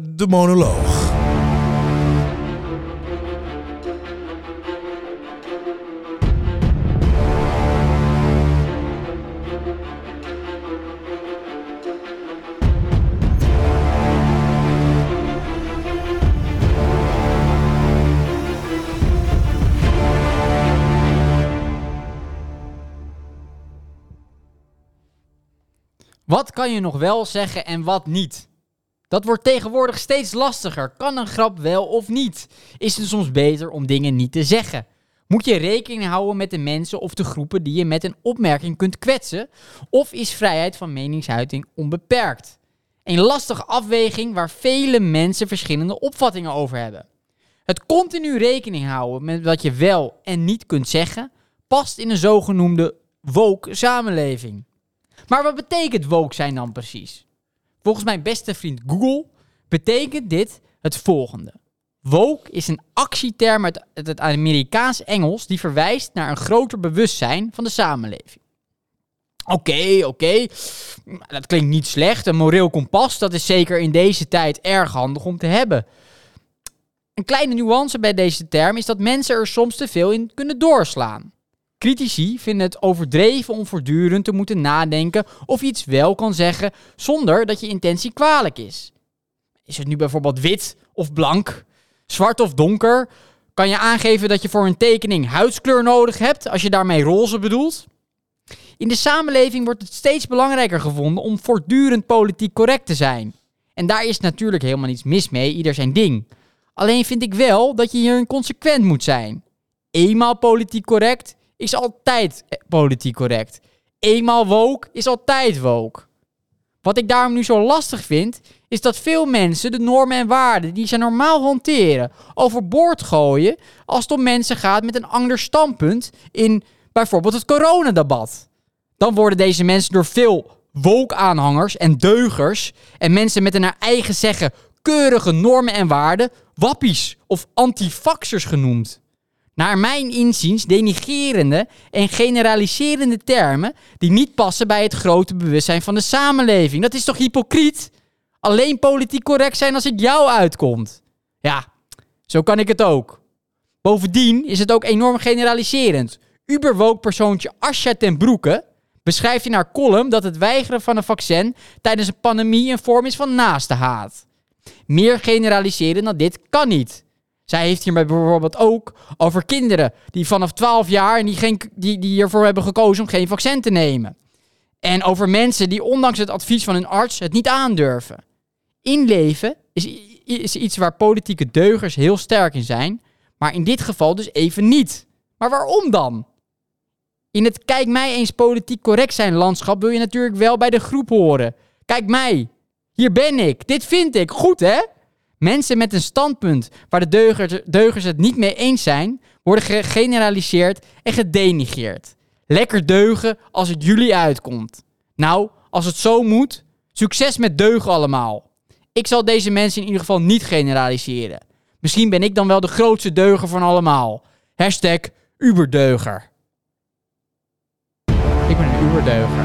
A: de monoloog.
B: Wat kan je nog wel zeggen en wat niet? Dat wordt tegenwoordig steeds lastiger. Kan een grap wel of niet? Is het soms beter om dingen niet te zeggen? Moet je rekening houden met de mensen of de groepen die je met een opmerking kunt kwetsen? Of is vrijheid van meningsuiting onbeperkt? Een lastige afweging waar vele mensen verschillende opvattingen over hebben. Het continu rekening houden met wat je wel en niet kunt zeggen, past in een zogenoemde woke samenleving. Maar wat betekent woke zijn dan precies? Volgens mijn beste vriend Google betekent dit het volgende. Woke is een actieterm uit uit het Amerikaans-Engels die verwijst naar een groter bewustzijn van de samenleving. Oké, oké, dat klinkt niet slecht. Een moreel kompas, dat is zeker in deze tijd erg handig om te hebben. Een kleine nuance bij deze term is dat mensen er soms te veel in kunnen doorslaan. Critici vinden het overdreven om voortdurend te moeten nadenken of je iets wel kan zeggen zonder dat je intentie kwalijk is. Is het nu bijvoorbeeld wit of blank, zwart of donker? Kan je aangeven dat je voor een tekening huidskleur nodig hebt als je daarmee roze bedoelt? In de samenleving wordt het steeds belangrijker gevonden om voortdurend politiek correct te zijn. En daar is natuurlijk helemaal niets mis mee, ieder zijn ding. Alleen vind ik wel dat je hierin consequent moet zijn eenmaal politiek correct is altijd eh, politiek correct. Eenmaal woke is altijd woke. Wat ik daarom nu zo lastig vind, is dat veel mensen de normen en waarden die ze normaal hanteren overboord gooien als het om mensen gaat met een ander standpunt in bijvoorbeeld het coronadebat. Dan worden deze mensen door veel woke-aanhangers en deugers en mensen met een naar eigen zeggen keurige normen en waarden wappies of antifaxers genoemd naar mijn inziens denigerende en generaliserende termen die niet passen bij het grote bewustzijn van de samenleving. Dat is toch hypocriet? Alleen politiek correct zijn als het jou uitkomt. Ja, zo kan ik het ook. Bovendien is het ook enorm generaliserend. Uberwoke persoontje Asja ten Broeke beschrijft in haar column dat het weigeren van een vaccin tijdens een pandemie een vorm is van naaste haat. Meer generaliseren dan dit kan niet. Zij heeft hierbij bijvoorbeeld ook over kinderen die vanaf 12 jaar en die, geen, die, die hiervoor hebben gekozen om geen vaccin te nemen. En over mensen die ondanks het advies van hun arts het niet aandurven. Inleven is, i- is iets waar politieke deugers heel sterk in zijn, maar in dit geval dus even niet. Maar waarom dan? In het kijk mij eens politiek correct zijn landschap wil je natuurlijk wel bij de groep horen. Kijk mij, hier ben ik, dit vind ik, goed hè? Mensen met een standpunt waar de deugers, deugers het niet mee eens zijn, worden gegeneraliseerd en gedenigeerd. Lekker deugen als het jullie uitkomt. Nou, als het zo moet, succes met deugen allemaal. Ik zal deze mensen in ieder geval niet generaliseren. Misschien ben ik dan wel de grootste deuger van allemaal. Hashtag Uberdeuger. Ik ben een Uberdeuger.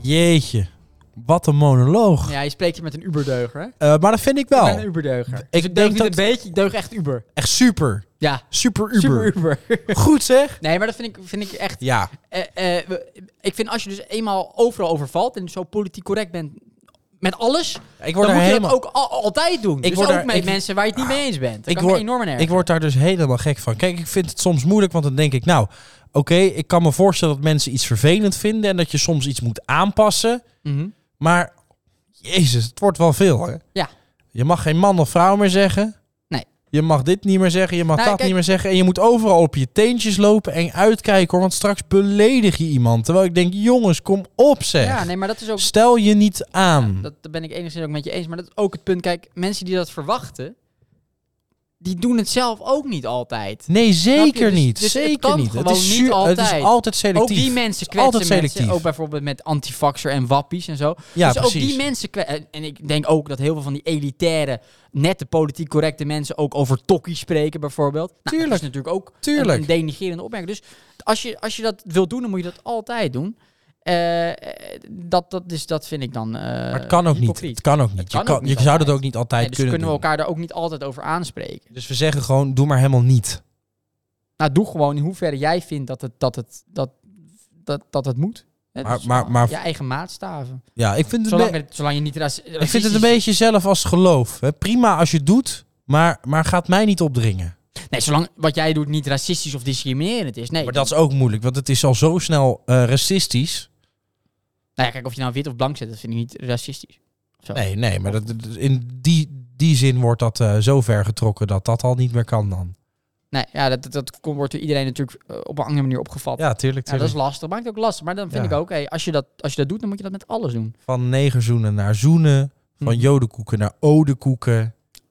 A: Jeetje. Wat een monoloog.
B: Ja, je spreekt hier met een Uberdeuger, hè?
A: Eh, maar dat vind ik
B: Ik
A: wel.
B: ben een Uberdeuger.
A: Ik
B: Ik dus ik deug
A: denk
B: niet
A: dat-
B: een beetje, ik deug echt Uber.
A: Echt super.
B: Ja,
A: Super Uber.
B: super Uber.
A: Goed zeg.
B: *laughs* nee, maar dat vind ik, vind ik echt...
A: Ja.
B: eh, eh, we- ik vind als je dus eenmaal overal overvalt en zo politiek correct bent met alles,
A: Ik word
B: dan
A: er
B: moet
A: helemaal...
B: je dat ook al- altijd doen.
A: Ik
B: dus
A: word
B: ook
A: daar-
B: met
A: ik-
B: mensen waar je het niet mee eens bent. Dat
A: Ik
B: kan me
A: word-
B: enorm nerven.
A: Ik word daar dus helemaal gek van. Kijk, ik vind het soms moeilijk, want dan denk ik, nou, oké, ik kan me voorstellen dat mensen iets vervelend vinden en dat je soms iets moet aanpassen.
B: Mhm.
A: Maar, jezus, het wordt wel veel, hè?
B: Ja.
A: Je mag geen man of vrouw meer zeggen.
B: Nee.
A: Je mag dit niet meer zeggen, je mag
B: Nee,
A: dat
B: kijk-
A: niet meer zeggen. En je moet overal op je teentjes lopen en uitkijken, hoor, want straks beledig je iemand. Terwijl ik denk, jongens, kom op, zeg.
B: Ja, nee, maar dat is ook...
A: Stel je niet aan.
B: Dat, dat ben ik enigszins ook met je eens. Maar dat is ook het punt. Kijk, mensen die dat verwachten, die doen het zelf ook niet altijd.
A: Nee, zeker
B: Dus-
A: niet.
B: dus het
A: zeker
B: kan
A: niet.
B: gewoon niet
A: zuur- Het is
B: altijd.
A: altijd selectief.
B: Ook die mensen
A: Het is altijd
B: kwetsen mensen.
A: selectief.
B: Ook bijvoorbeeld met antifaxer en wappies en zo.
A: ja,
B: dus
A: precies.
B: ook die mensen kwetsen. En ik denk ook dat heel veel van die elitaire, nette politiek correcte mensen ook over tokkies spreken bijvoorbeeld. Nou, Dat
A: Tuurlijk.
B: is natuurlijk ook een,
A: Tuurlijk.
B: een denigerende opmerking. Dus als je, als je dat wilt doen, dan moet je dat altijd doen. Eh, eh, dat, dat, is, dat vind ik dan eh
A: Maar het kan ook niet.
B: hypocriet.
A: Het kan ook niet.
B: kan
A: je kan,
B: ook niet
A: je zou dat
B: altijd.
A: ook niet altijd
B: Nee, dus
A: kunnen,
B: kunnen we
A: doen.
B: elkaar daar ook niet altijd over aanspreken.
A: Dus we zeggen gewoon, doe maar helemaal niet.
B: Nou, doe gewoon in hoeverre jij vindt dat het, dat het, dat, dat, dat het moet. Hè,
A: Maar-
B: dus
A: maar- maar-
B: je eigen maatstaven.
A: Ja, ik vind het, een
B: Zolang,
A: be-
B: het- zolang je niet raci-
A: ik vind het een
B: racistisch-
A: beetje zelf als geloof. Hè. Prima als je het doet, maar, maar gaat mij niet opdringen.
B: Nee, zolang wat jij doet niet racistisch of discriminerend is. Nee.
A: Maar dat is ook moeilijk, want het is al zo snel eh, racistisch.
B: Nou ja, kijk, of je nou wit of blank zet, dat vind ik niet racistisch.
A: Nee, nee, maar dat, dat- in die, die zin wordt dat eh, zo ver getrokken dat dat al niet meer kan dan.
B: Nee, ja, dat, dat, dat kon- wordt door iedereen natuurlijk eh, op een andere manier opgevat. Ja,
A: Ja, tuurlijk. tuurlijk.
B: dat is lastig. Maakt het ook lastig. Maar dan vind
A: Ja.
B: ik ook, hé, als, je dat, als je dat doet, dan moet je dat met alles doen.
A: Van negerzoenen naar zoenen, van
B: Mhm.
A: jodenkoeken naar odekoeken.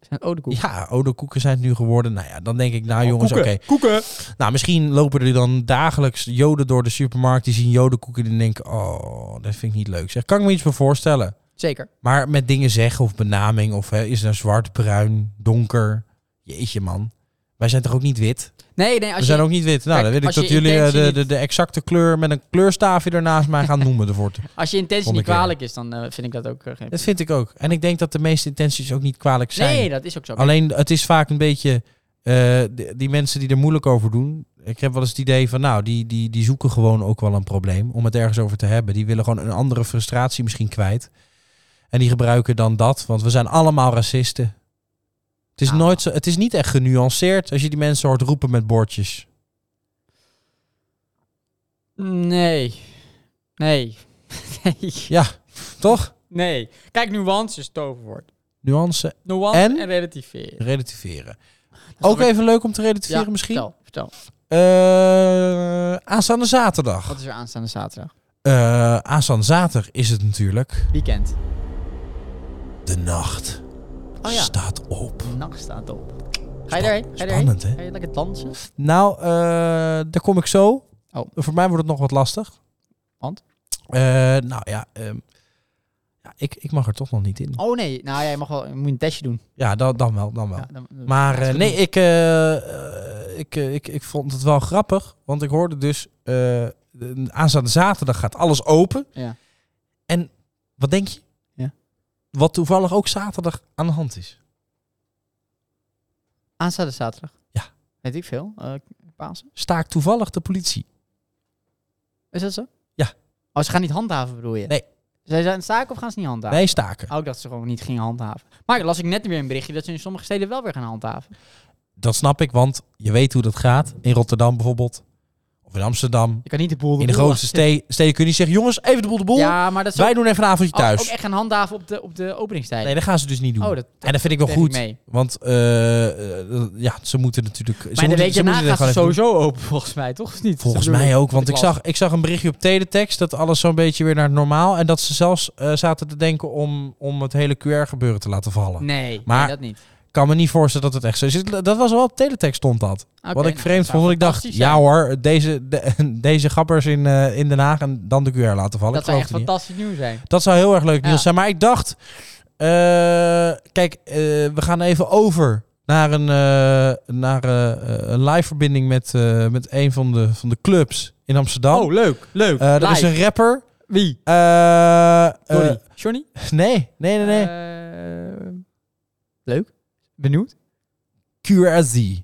B: Zijn odekoek.
A: Ja, odekoeken zijn het nu geworden. Nou ja, dan denk ik, nou jongens, oké.
B: Oh, Koeken.
A: Nou, misschien lopen er dan dagelijks joden door de supermarkt. Die zien jodenkoeken en denken, oh, dat vind ik niet leuk. Zeg, kan ik me iets voor voorstellen?
B: Zeker.
A: Maar met dingen zeggen of benaming of hè, is het nou zwart, bruin, donker? Jeetje man, wij zijn toch ook niet wit?
B: Nee, nee, als
A: We
B: je,
A: zijn ook niet wit. Nou,
B: Kijk,
A: dan wil ik
B: als je
A: dat jullie eh,
B: intentie
A: de,
B: niet-
A: de, de exacte kleur met een kleurstaafje ernaast mij gaan noemen ervoor. te-
B: als je intentie
A: Volgende
B: niet
A: keer.
B: kwalijk is, dan eh, vind ik dat ook eh, geen...
A: Dat vind ik ook. En ik denk dat de meeste intenties ook niet kwalijk zijn.
B: Nee, dat is ook zo.
A: Alleen het is vaak een beetje eh, d- die mensen die er moeilijk over doen. Ik heb wel eens het idee van, nou, die, die, die zoeken gewoon ook wel een probleem om het ergens over te hebben. Die willen gewoon een andere frustratie misschien kwijt. En die gebruiken dan dat, want we zijn allemaal racisten. Het is,
B: Ah.
A: nooit zo, het is niet echt genuanceerd als je die mensen hoort roepen met bordjes.
B: Nee. Nee. *laughs* nee.
A: Toch?
B: Nee. Kijk, nuance is toverwoord.
A: Nuance
B: Nuance en,
A: En?
B: relativeren.
A: relativeren.
B: is
A: Ook
B: wel-
A: even leuk om te relativeren
B: Ja,
A: misschien.
B: Vertel, vertel.
A: Eh, aanstaande zaterdag.
B: Wat is er aanstaande zaterdag?
A: Eh aanstaande zaterdag is het natuurlijk.
B: Weekend.
A: De nacht
B: Oh ja.
A: staat op.
B: Nacht staat op. Ga je daarheen? Ga je daarheen?
A: Spannend, hè?
B: Ga je lekker dansen?
A: Nou, eh, daar kom ik zo.
B: Oh.
A: Voor mij wordt het nog wat lastig.
B: Want?
A: Eh, nou ja, ehm, ja ik, ik mag er toch nog niet in.
B: Oh nee. Nou, jij mag wel. Je moet een testje doen.
A: Ja, dan, dan wel, dan wel.
B: Ja, dan- dan-
A: Maar
B: dat is
A: eh,
B: goed.
A: nee, ik, eh, eh, ik, eh, ik, ik vond het wel grappig. Want ik hoorde dus, eh, de- aanstaande zaterdag gaat alles open.
B: Ja.
A: En wat denk je?
B: Ja.
A: Wat toevallig ook zaterdag aan de hand is.
B: Aanstaande zaterdag.
A: Ja.
B: Weet ik veel. Eh Pasen.
A: Staakt toevallig de politie.
B: Is dat zo?
A: Ja.
B: Oh, ze gaan niet handhaven bedoel je?
A: Nee.
B: Zijn ze aan het staken of gaan ze niet handhaven?
A: Wij staken.
B: Ook dat ze gewoon niet gingen handhaven. Maar las ik net weer een berichtje dat ze in sommige steden wel weer gaan handhaven.
A: Dat snap ik, want je weet hoe dat gaat. In Rotterdam bijvoorbeeld. Of in Amsterdam.
B: Je kan niet de boel
A: In de
B: boel
A: grootste ste- steden kun je niet zeggen... jongens, even de boel de boel.
B: Ja, maar dat is
A: Wij doen even een avondje
B: ook, thuis. ook
A: thuis.
B: echt gaan handhaven op de, op de openingstijd.
A: Nee, dat gaan ze dus niet doen.
B: oh, dat
A: en dat vind ik wel
B: neem ik
A: goed.
B: mee.
A: Want eh, eh, ja, ze moeten natuurlijk... ze
B: Maar de
A: moeten,
B: week
A: ze moeten
B: daarna
A: er
B: gaat
A: gewoon
B: het
A: even doen.
B: sowieso open, volgens mij, toch? Of niet?
A: Volgens
B: Dat bedoel
A: mij ook, want ik
B: las.
A: zag, ik zag een berichtje op teletext... dat alles zo'n beetje weer naar het normaal... en dat ze zelfs eh, zaten te denken om, om het hele QR-gebeuren te laten vallen.
B: Nee,
A: Maar-
B: nee, dat niet.
A: Ik kan me niet voorstellen dat het echt zo is. Dat was wel op teletext stond dat.
B: Oké,
A: Wat ik
B: nou,
A: vreemd
B: dat zou
A: vond, want ik dacht,
B: fantastisch zijn.
A: ja hoor, deze, de- *laughs* deze gappers in, eh, in Den Haag en dan de QR laten vallen.
B: Dat
A: Ik
B: zou
A: geloof
B: echt
A: het niet.
B: fantastisch nieuws zijn.
A: Dat zou heel erg leuk nieuws
B: Ja.
A: zijn. Maar ik dacht, eh, kijk, eh, we gaan even over naar een, eh, naar, eh, eh, een live verbinding met, eh, met een van de, van de clubs in Amsterdam.
B: Oh, leuk, leuk.
A: Eh, dat is een rapper.
B: Wie?
A: Eh, eh,
B: Johnny. Johnny?
A: nee, nee, nee, nee.
B: Eh, leuk. Benieuwd? *laughs*
A: QRZ.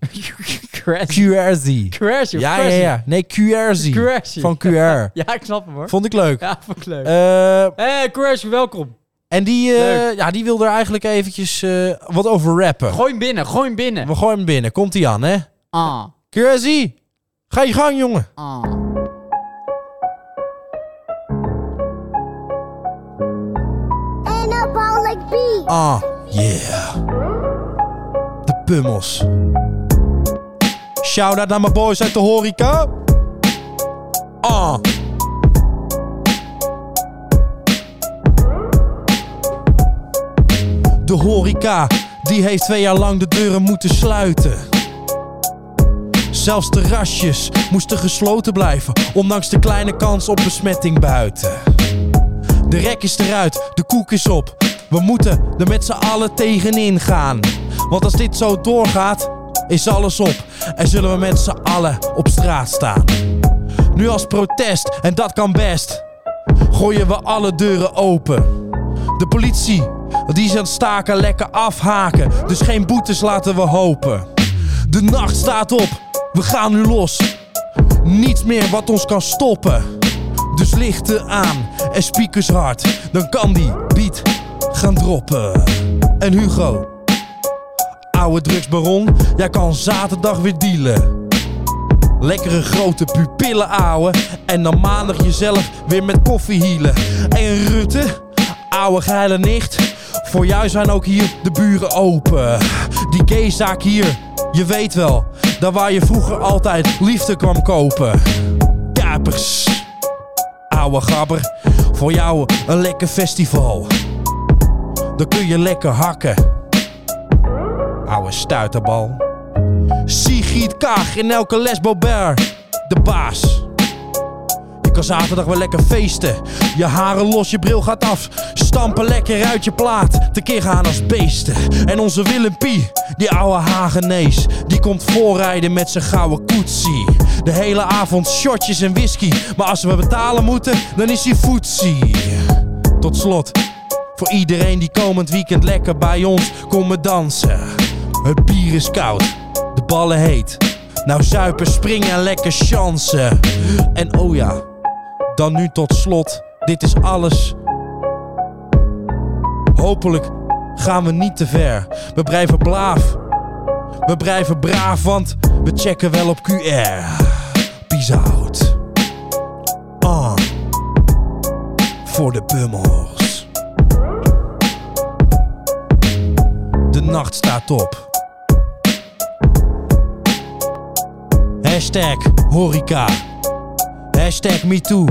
B: Crash.
A: QRZ.
B: Crash,
A: Ja, ja, ja. Nee, QRZ.
B: Crash.
A: Van QR.
B: *laughs* Ja, ik snap hem hoor.
A: Vond ik leuk.
B: Ja, vond ik leuk.
A: Eh
B: Hé, Crash, welkom.
A: En die, eh,
B: Leuk.
A: ja, die wil er eigenlijk eventjes eh, wat over rappen.
B: Gooi hem binnen, gooi hem binnen.
A: We gooien hem binnen. Komt hij aan, hè?
B: Ah,
A: Crazy! Ga je gang, jongen.
B: ah.
C: Anabolic beat.
A: Ah, yeah. De pummels. Shout-out naar mijn boys uit de horeca. Ah. De horeca, die heeft twee jaar lang de deuren moeten sluiten. Zelfs terrasjes moesten gesloten blijven, ondanks de kleine kans op besmetting buiten. De rek is eruit, de koek is op. We moeten er met z'n allen tegenin gaan. Want als dit zo doorgaat, is alles op. En zullen we met z'n allen op straat staan. Nu als protest, en dat kan best, gooien we alle deuren open. De politie, die is aan het staken, lekker afhaken. Dus geen boetes laten we hopen. De nacht staat op, we gaan nu los. Niets meer wat ons kan stoppen. Dus lichten aan en speakers hard. Dan kan die beat gaan droppen. En Hugo, oude drugsbaron, jij kan zaterdag weer dealen. Lekkere grote pupillen ouwe. En dan maandag jezelf weer met koffie hielen. En Rutte, ouwe geile nicht. Voor jou zijn ook hier de buren open. Die gayzaak hier, je weet wel. Daar waar je vroeger altijd liefde kwam kopen. Kapers ouwe gabber. Voor jou een lekker festival. Dan kun je lekker hakken. Ouwe stuiterbal. Sigrid Kaag in elke les Bobert. De baas. Je kan zaterdag wel lekker feesten. Je haren los, je bril gaat af. Stampen lekker uit je plaat. Tekeer gaan als beesten. En onze Willem Pie, die ouwe Hagenees. Die komt voorrijden met zijn gouden koetsie. De hele avond shotjes en whisky. Maar als we betalen moeten, dan is hij foetsie. Tot slot, voor iedereen die komend weekend lekker bij ons komen dansen. Het bier is koud, de ballen heet. Nou zuipen, springen en lekker chansen. En oh ja, dan nu tot slot. Dit is alles. Hopelijk gaan we niet te ver. We blijven braaf. We blijven braaf, want we checken wel op QR. Peace out. Ah. Voor de bummels. De nacht staat op. Hashtag horeca. Hashtag MeToo.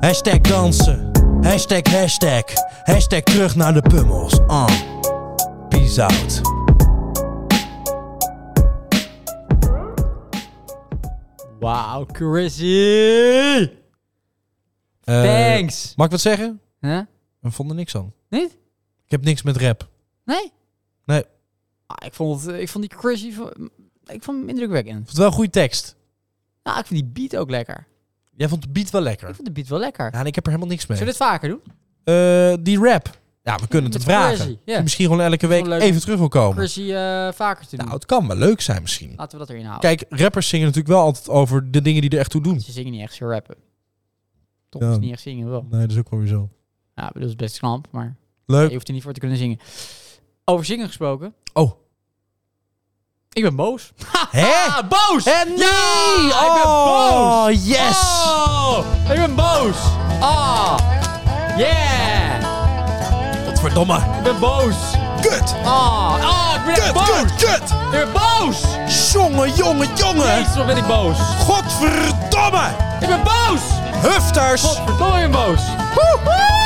A: Hashtag dansen. Hashtag hashtag. Hashtag terug naar de pummels. Ah. Peace out.
B: Wauw, Chrissy! Thanks!
A: Eh, Mag ik wat zeggen?
B: Huh?
A: We vonden niks aan.
B: Niet?
A: Ik heb niks met rap.
B: Nee?
A: Nee. Ik
B: Ah, ik, vond het, ik vond die Chrissy... v- Ik vond hem indrukwekkend.
A: vond het wel een goede tekst.
B: Nou, ik vond die beat ook lekker.
A: Jij vond de beat wel lekker.
B: Ik vond de beat wel lekker.
A: Ja, en ik heb er helemaal niks mee.
B: Zullen we dit vaker doen?
A: Eh, die rap. Ja, we kunnen het
B: Met
A: vragen.
B: Crazy,
A: Die
B: Ja.
A: Misschien gewoon elke
B: wel
A: week
B: leuk.
A: even terug wil komen.
B: Chrissy eh, vaker te doen.
A: Nou, het kan wel leuk zijn misschien.
B: Laten we dat erin houden.
A: Kijk, rappers zingen natuurlijk wel altijd over de dingen die er echt toe doen.
B: Ze zingen niet echt, ze rappen. Toch
A: Ja.
B: is niet echt zingen wel.
A: Nee, dat is ook wel weer zo.
B: Ja, dat is best knap, maar
A: Leuk.
B: je hoeft er niet voor te kunnen zingen. Over zingen gesproken.
A: Oh.
B: Ik ben boos.
A: Hè?
B: Ah, boos!
A: En nee!
B: ik ben
A: oh, yes!
B: Oh, ik ben boos. Ah, yeah. Ah,
A: Godverdomme.
B: Ik ben boos.
A: Kut!
B: Ah, ah, ik ben echt
A: Kut,
B: boos.
A: kut, kut!
B: Ik ben boos.
A: Jongen, jongen, jongen!
B: Jezus, wat ben ik boos.
A: Godverdomme!
B: Ik ben boos.
A: Hufters!
B: Godverdomme, ik ben boos.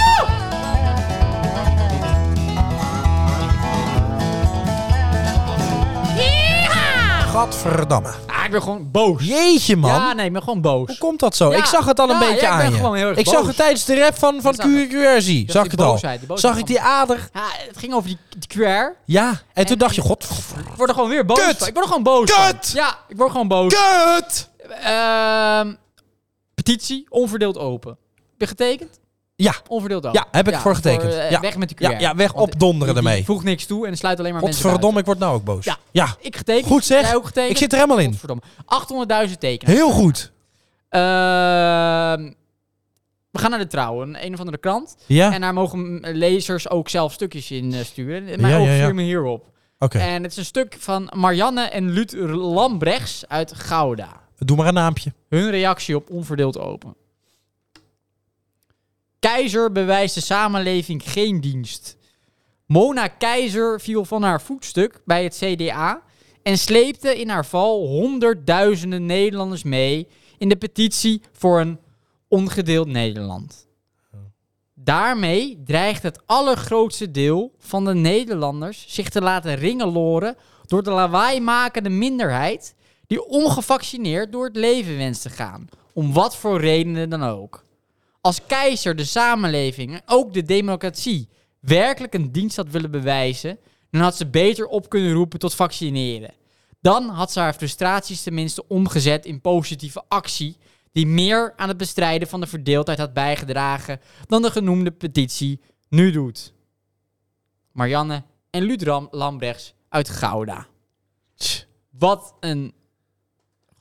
A: Godverdamme.
B: Ah, ik ben gewoon boos.
A: Jeetje, man.
B: Ja, nee, ik ben gewoon boos.
A: Hoe komt dat zo?
B: Ja,
A: ik zag het al een
B: ja,
A: beetje
B: ja, ik
A: aan
B: ben
A: je.
B: gewoon heel erg
A: ik
B: boos.
A: zag het tijdens de rap van, van
B: Dat zag ik.
A: QQRZ. Zag
B: die
A: ik het al.
B: boosheid, die boosheid
A: Zag ik die ader?
B: Ja, het ging over die, die QR.
A: Ja. En toen dacht je, god...
B: Ik word er gewoon weer boos
A: Kut.
B: van. Ik word er gewoon boos van.
A: Kut.
B: Ja, ik word gewoon boos.
A: Kut!
B: Ehm, petitie, onverdeeld open. Heb je getekend?
A: Ja.
B: Onverdeeld open.
A: Ja, heb ik voor getekend.
B: eh,
A: Ja.
B: Weg met de QR.
A: Ja, ja, weg
B: Want
A: opdonderen
B: die- die
A: ermee.
B: Voegt niks toe en sluit alleen maar mensen
A: Godverdomme, ik word nou ook boos.
B: Ja.
A: ja.
B: uit. Ik getekend.
A: Goed zeg.
B: Jij ook getekend.
A: Ik zit er helemaal in.
B: Godverdomme. 800.000 tekenen.
A: Heel goed.
B: Ehm, We gaan naar de trouw, een, een of andere krant.
A: Ja?
B: En daar mogen eh, lezers ook zelf stukjes in eh, sturen. Maar
A: Ja,
B: ook
A: ja, ja.
B: viel me hierop.
A: Oké,
B: En het is een stuk van Marianne en Lut Lambrechts uit Gouda.
A: doe maar een naampje.
B: Hun reactie op onverdeeld open. Keizer bewijst de samenleving geen dienst. Mona Keizer viel van haar voetstuk bij het CDA en sleepte in haar val honderdduizenden Nederlanders mee in de petitie voor een ongedeeld Nederland. Daarmee dreigt het allergrootste deel van de Nederlanders zich te laten ringeloren door de lawaaimakende minderheid die ongevaccineerd door het leven wenst te gaan, om wat voor redenen dan ook. Als keizer de samenleving en ook de democratie werkelijk een dienst had willen bewijzen, dan had ze beter op kunnen roepen tot vaccineren. Dan had ze haar frustraties tenminste omgezet in positieve actie, die meer aan het bestrijden van de verdeeldheid had bijgedragen dan de genoemde petitie nu doet. Marianne en Ludram Lambrechts uit Gouda.
A: Tch.
B: Wat een.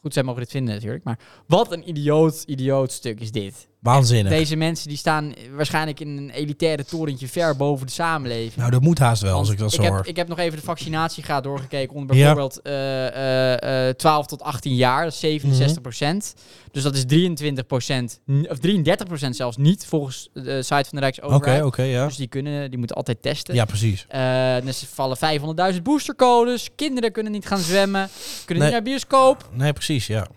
B: Goed, zij mogen dit vinden natuurlijk, maar wat een idioot, idioot stuk is dit.
A: Waanzinnig.
B: Deze mensen die staan waarschijnlijk in een elitaire torentje ver boven de samenleving.
A: Nou, dat moet haast wel, als
B: Want
A: ik dat zo
B: heb,
A: hoor.
B: Ik heb nog even de vaccinatiegraad doorgekeken onder
A: Ja.
B: bijvoorbeeld eh, eh, eh, 12 tot 18 jaar. Dat is 67 Dus dat is 23 n- of 33 zelfs niet volgens de site van de
A: Oké,
B: Rijksoverheid.
A: oké, ja.
B: Dus die, kunnen, die moeten altijd testen.
A: Ja, precies.
B: Eh, dus er vallen 500.000 boostercodes. Kinderen kunnen niet gaan zwemmen. Kunnen
A: Nee.
B: niet naar bioscoop.
A: Nee, precies, ja.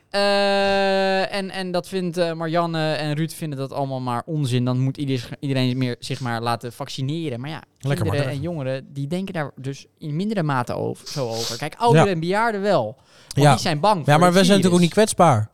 B: Eh, en, en dat vindt eh, Marianne en Ruud vinden dat allemaal maar onzin. Dan moet ieder, iedereen meer, zich maar laten vaccineren. Maar ja,
A: maar
B: kinderen
A: durven.
B: en jongeren die denken daar dus in mindere mate over, zo over. Kijk, ouderen en bejaarden wel. Want
A: Ja.
B: die zijn bang voor
A: Ja, maar
B: het
A: wij zijn natuurlijk ook
B: virus.
A: niet kwetsbaar.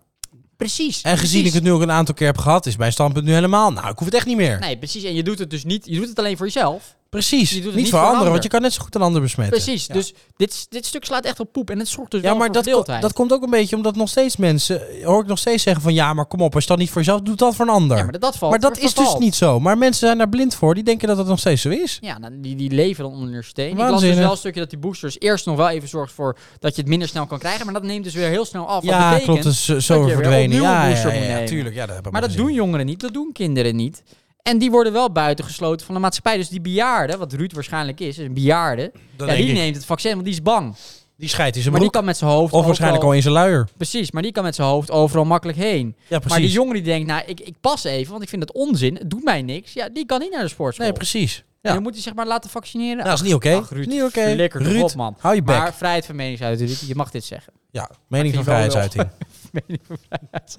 B: Precies.
A: En gezien ik
B: precies.
A: het nu ook een aantal keer heb gehad, is mijn standpunt nu helemaal... Nou, ik hoef het echt niet meer.
B: Nee, precies. En je doet het dus niet. Je doet het alleen voor jezelf.
A: Precies.
B: Je doet
A: Niet,
B: het
A: voor,
B: niet voor
A: anderen,
B: anderen.
A: want je kan net zo goed een ander besmetten.
B: Precies.
A: Ja.
B: Dus dit, s- dit stuk slaat echt op poep. En het zorgt dus
A: Ja,
B: wel
A: maar
B: voor
A: dat, ko-
B: verdeeldheid.
A: dat komt ook een beetje omdat nog steeds mensen... Hoor ik nog steeds zeggen van... Ja, maar kom op, als je dat niet voor jezelf doet, doe dat voor een ander.
B: ja, maar
A: maar
B: dat, dat valt.
A: dat, is dus
B: vervalt.
A: niet zo. Maar mensen zijn daar blind voor. Die denken dat dat nog steeds zo is.
B: Ja, nou, die, die leven dan onder een steen. Ik las dus
A: Waanzinnig.
B: wel een stukje dat die boosters eerst nog wel even zorgt voor dat je het minder snel kan krijgen. Maar dat neemt dus weer heel snel af. Wat
A: ja,
B: betekent,
A: klopt. Dus zo zo
B: weer
A: verdwenen.
B: opnieuw een
A: Ja, ja,
B: booster
A: ja,
B: moet
A: ja,
B: nemen.
A: tuurlijk. Ja, dat heb ik
B: Maar dat
A: gezien.
B: doen jongeren niet, dat doen kinderen niet. En die worden wel buitengesloten van de maatschappij. Dus die bejaarden, wat Ruud waarschijnlijk is, is een bejaarde,
A: Dan
B: ja,
A: denk
B: die
A: ik,
B: neemt het vaccin, want die is bang.
A: Die scheidt in zijn
B: Maar die
A: broek.
B: kan met zijn hoofd.
A: Of waarschijnlijk al
B: overal,
A: in zijn luier.
B: Precies, maar die kan met zijn hoofd overal makkelijk heen.
A: Ja, precies.
B: Maar die jongeren die denkt, nou, ik, ik pas even, want ik vind het onzin. Het doet mij niks. Ja, die kan niet naar de sportschool.
A: Nee, precies.
B: En
A: Ja.
B: dan moet hij zich maar laten vaccineren.
A: Nou, is niet oké.
B: Ach, Ruud,
A: Niet oké.
B: flikker toch
A: Ruud,
B: op, man.
A: hou je bek.
B: Maar vrijheid van meningsuiting, Ruud, je mag dit zeggen.
A: Ja, mening van
B: vind je wel
A: vrijheidsuiting.
B: *laughs* Mening van vrijheid.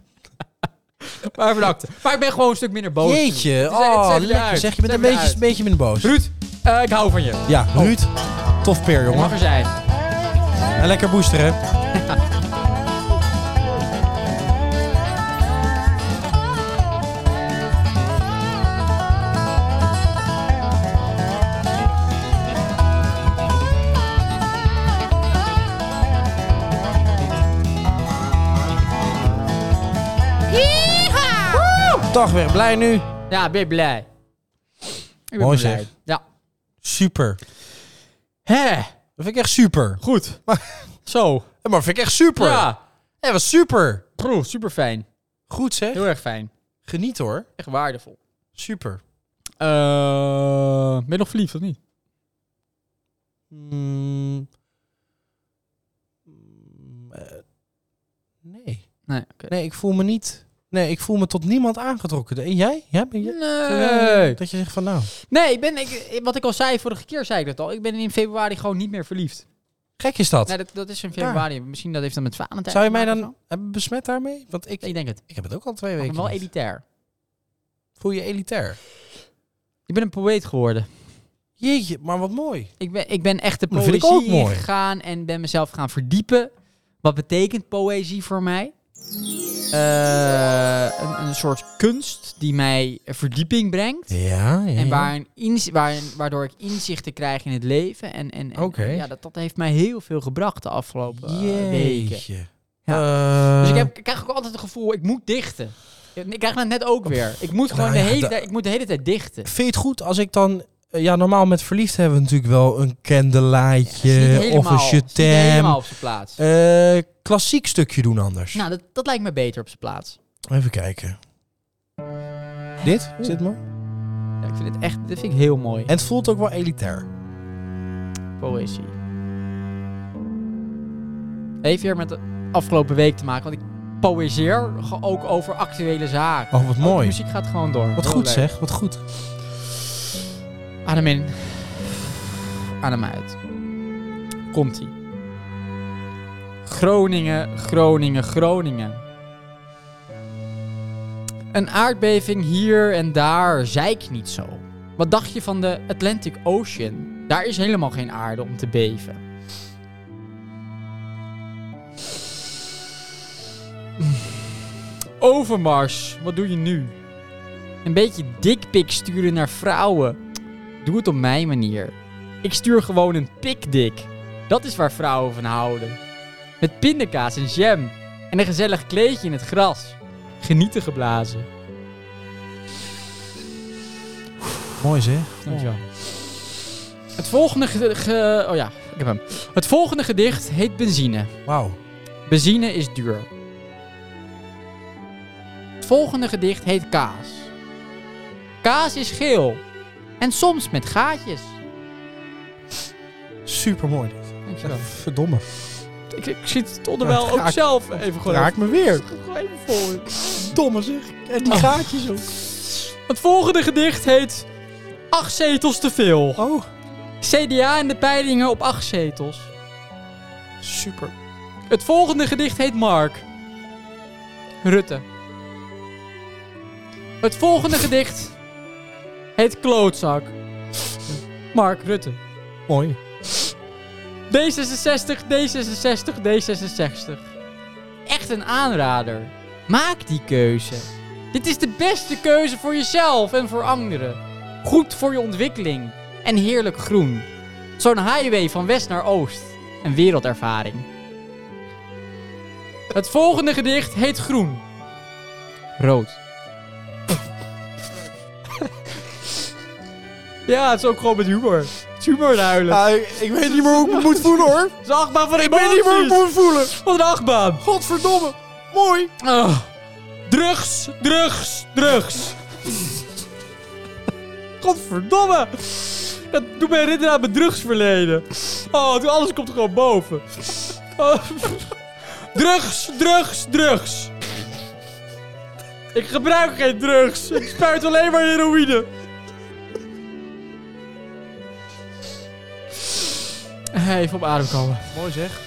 B: maar bedankt. Maar ik ben gewoon een stuk minder boos.
A: Jeetje,
B: Het is- het is
A: oh,
B: even
A: lekker
B: uit.
A: zeg. Je bent een
B: Het is even
A: beetje, een beetje minder boos.
B: Ruud, eh, ik hou van je.
A: Ja, Ruud, tof peer,
B: Je mag
A: jongen.
B: er zijn.
A: En lekker boosteren. Dag weer blij nu.
B: Ja, ben je blij. Ik ben
A: Mooi
B: blij.
A: zeg.
B: Ja.
A: Super.
B: Hè,
A: Dat vind ik echt super.
B: goed. Zo.
A: Ja, *laughs* maar vind ik echt super. Ja,
B: Ja.
A: dat was super.
B: Bro, super fijn.
A: Goed zeg.
B: Heel erg fijn.
A: Geniet hoor.
B: Echt waardevol.
A: Super.
B: Eh, ben je nog verliefd of niet?
A: Mm. Mm, eh, nee.
B: Nee, oké.
A: Nee, ik voel me niet... Nee, ik voel me tot niemand aangetrokken. En jij? Ja, ben je?
B: Nee.
A: Dat je zegt van nou...
B: Nee, ik ben, ik, wat ik al zei, vorige keer zei ik dat al. Ik ben in februari gewoon niet meer verliefd.
A: Gek is dat.
B: Nee, dat, dat is in februari. Misschien dat heeft Nou, dat eh, met Valentijn
A: Zou je
B: te
A: mij
B: maken
A: dan hebben besmet daarmee? Want ik,
B: of zo? Ik denk het.
A: ik heb het ook al twee
B: Ik
A: weken.
B: ben wel
A: niet.
B: elitair.
A: Voel je elitair?
B: Ik ben een poëet geworden.
A: Jeetje, maar wat mooi.
B: Ik ben, ik ben echt de
A: Dat vind ik
B: poëzie
A: ook mooi.
B: gegaan en ben mezelf gaan verdiepen. Wat betekent poëzie voor mij? Eh, een, een soort kunst die mij verdieping brengt.
A: Ja, ja.
B: En
A: ja.
B: waar een inz- waar een- waardoor ik inzichten krijg in het leven. En, en, en
A: Oké.
B: ja, dat, dat heeft mij heel veel gebracht de afgelopen eh, weken.
A: Jeetje.
B: Dus
A: Eh,
B: ik, heb, ik krijg ook altijd het gevoel, ik moet dichten. Ik krijg dat net ook weer. Ik moet gewoon
A: Nou
B: de,
A: ja,
B: hele
A: dat-
B: tijd, ik moet de hele tijd dichten.
A: Vind je het goed als ik dan... eh, Ja, normaal met verliefd hebben we natuurlijk wel een candelaatje
B: Het is niet
A: of
B: helemaal-
A: een
B: het is niet
A: chetem.
B: helemaal op zijn plaats.
A: Eh, klassiek stukje doen anders.
B: Nou, dat, dat lijkt me beter op zijn plaats.
A: Even kijken. Dit? Is dit mooi?
B: Ja, ik vind het echt, dit vind ik heel mooi.
A: En het voelt ook wel elitair.
B: Poëzie. Heeft hier met de afgelopen week te maken, want ik poëzeer ge- ook over actuele zaken.
A: Oh, wat
B: Ook de
A: mooi.
B: muziek gaat gewoon door.
A: Wat
B: Heel
A: goed
B: leuk.
A: zeg, wat goed.
B: Adem in. Adem uit. Komt-ie. Groningen, Groningen, Groningen. Een aardbeving hier en daar, zei ik niet zo. Wat dacht je van de Atlantic Ocean? Daar is helemaal geen aarde om te beven. Hm. Overmars, wat doe je nu? Een beetje dikpik sturen naar vrouwen. Doe het op mijn manier. Ik stuur gewoon een pikdik. Dat is waar vrouwen van houden. Met pindakaas en jam. En een gezellig kleedje in het gras. Genieten geblazen.
A: Mooi zeg.
B: Dankjewel. Het volgende ge- ge- Oh ja, ik heb hem. Het volgende gedicht heet Benzine.
A: Wauw.
B: Benzine is duur. Het volgende gedicht heet Kaas. Kaas is geel. En soms met gaatjes.
A: Super mooi dit.
B: Dankjewel.
A: Verdomme.
B: Ik, ik zit het
A: Ja,
B: onderwijl
A: het
B: ook
A: raakt-
B: zelf even gewoon
A: Raak me weer.
B: Gewoon even voor.
A: Domme zeg. En die
B: Oh.
A: gaatjes ook.
B: Het volgende gedicht heet... Acht zetels te veel.
A: Oh,
B: CDA en de peilingen op acht zetels.
A: super.
B: Het volgende gedicht heet Mark. Rutte. Het volgende gedicht heet Klootzak. Mark Rutte.
A: Mooi.
B: D66, D66, D66. Echt een aanrader. Maak die keuze. Dit is de beste keuze voor jezelf en voor anderen. Goed voor je ontwikkeling en heerlijk groen. Zo'n highway van west naar oost. Een wereldervaring. Het volgende gedicht heet Groen. Rood. *laughs* ja, het is ook gewoon met humor. Het is humor aan het huilen.
A: ik weet niet meer hoe ik me moet voelen hoor.
B: Het is een achtbaan van
A: Ik weet niet meer hoe ik me moet voelen.
B: Wat een achtbaan.
A: Godverdomme. Mooi.
B: Ah. Drugs, drugs, drugs. Godverdomme. Dat doet mij herinneren aan mijn drugsverleden. Oh, toen alles komt gewoon boven. Oh. Drugs, drugs, drugs. Ik gebruik geen drugs. Ik spuit alleen maar heroïne. Even op adem komen.
A: Mooi zeg.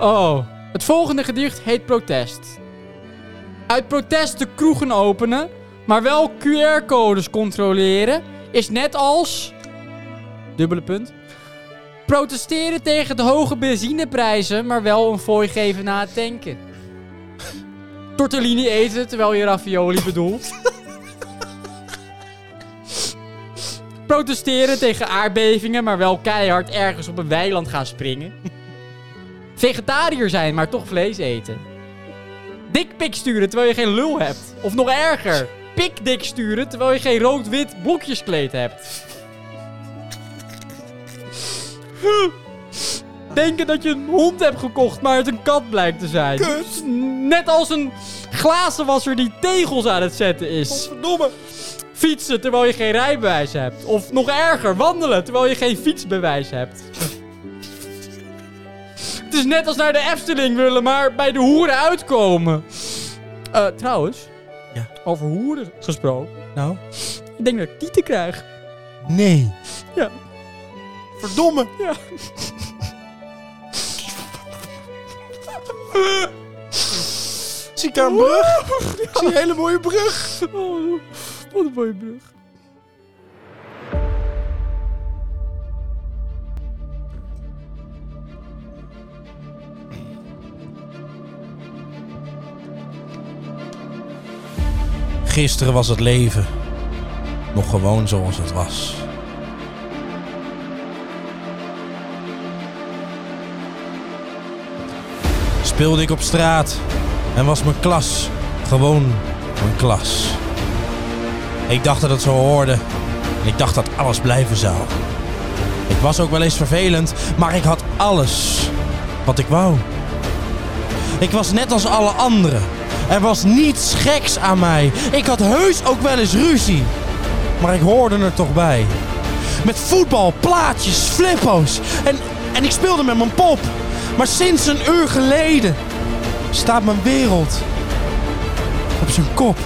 B: Oh, het volgende gedicht heet Protest. Uit protest de kroegen openen, maar wel QR-codes controleren, is net als. Dubbele punt. Protesteren tegen de hoge benzineprijzen, maar wel een fooi geven na het tanken. Tortellini eten terwijl je ravioli bedoelt. Protesteren tegen aardbevingen, maar wel keihard ergens op een weiland gaan springen. Vegetariër zijn, maar toch vlees eten. Dikpik sturen terwijl je geen lul hebt. Of nog erger, pikdik sturen terwijl je geen rood-wit blokjeskleed hebt. Denken dat je een hond hebt gekocht, maar het een kat blijkt te zijn.
A: Kut.
B: Net als een glazenwasser die tegels aan het zetten is.
A: Godverdomme.
B: Fietsen terwijl je geen rijbewijs hebt. Of nog erger, wandelen terwijl je geen fietsbewijs hebt. Het is net als naar de Efteling willen, maar bij de hoeren uitkomen. Eh, trouwens,
A: Ja.
B: over hoeren gesproken.
A: Nou.
B: Ik denk dat ik tieten krijg.
A: Nee.
B: Ja.
A: Verdomme.
B: Ja.
A: *laughs* Zie ik daar een brug? Ik zie een hele mooie brug.
B: Oh, wat een mooie brug.
A: Gisteren was het leven nog gewoon zoals het was. Speelde ik op straat en was mijn klas gewoon mijn klas. Ik dacht dat het zo hoorde en ik dacht dat alles blijven zou. Ik was ook wel eens vervelend, maar ik had alles wat ik wou. Ik was net als alle anderen. Er was niets geks aan mij. Ik had heus ook wel eens ruzie. Maar ik hoorde er toch bij. Met voetbal, plaatjes, flippo's. En, en ik speelde met mijn pop. Maar sinds een uur geleden staat mijn wereld op zijn kop.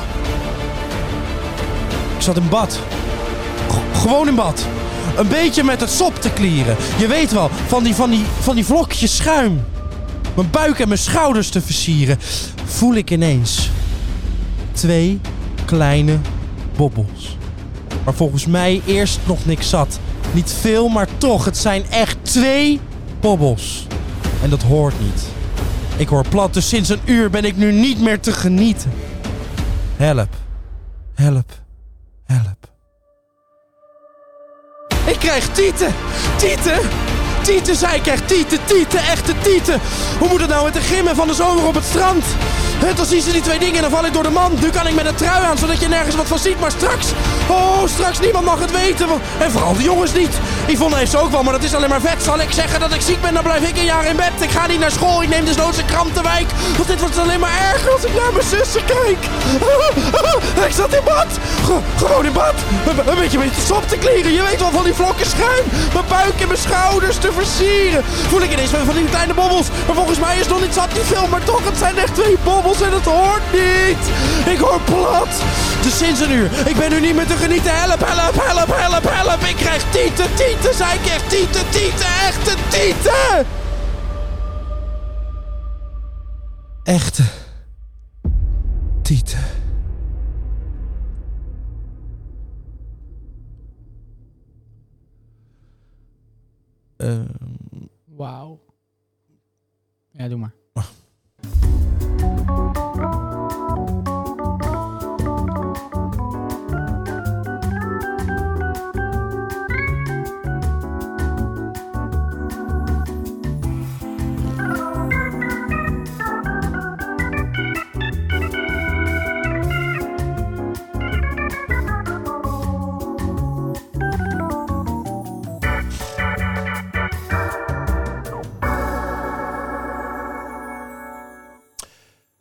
A: Ik zat in bad. G- gewoon in bad. Een beetje met het sop te klieren. Je weet wel, van die, van, die, van die vlokjes schuim. Mijn buik en mijn schouders te versieren. Voel ik ineens twee kleine bobbels. Maar volgens mij eerst nog niks zat. Niet veel, maar toch. Het zijn echt twee bobbels. En dat hoort niet. Ik hoor plat, dus sinds een uur ben ik nu niet meer te genieten. Help. Help. Help. Ik krijg tieten. Tieten? Tieten, zij krijgt tieten. Tieten, echte tieten. Hoe moet het nou met de gimmen van de zomer op het strand? Het als zien ze die twee dingen en dan val ik door de mand. Nu kan ik met een trui aan, zodat je nergens wat van ziet. Maar straks... Oh, straks niemand mag het weten. want- En vooral de jongens niet. Yvonne heeft ze ook wel, maar dat is alleen maar vet. Zal ik zeggen dat ik ziek ben, dan blijf ik een jaar in bed. Ik ga niet naar school, ik neem desnoods een krantenwijk. Want dit wordt alleen maar erger als ik naar mijn zussen kijk. *laughs* ik zat in bad. Ge- gewoon in bad. Een, een beetje met sop te kleren. Je weet wel van die vlokken schuim. Mijn buik en mijn schouders te versieren. Voel ik ineens weer van die kleine bobbels. Maar volgens mij is nog niet zat die film. Maar toch, het zijn echt twee bobbels en het hoort niet. Ik hoor plat. Dus sinds een uur. Ik ben nu niet meer te genieten. Help, help, help, help, help. Ik krijg tieten, tieten. Zij krijgt tieten, tieten. Echte tieten. Echte tieten.
B: Wauw. Ja, doe maar.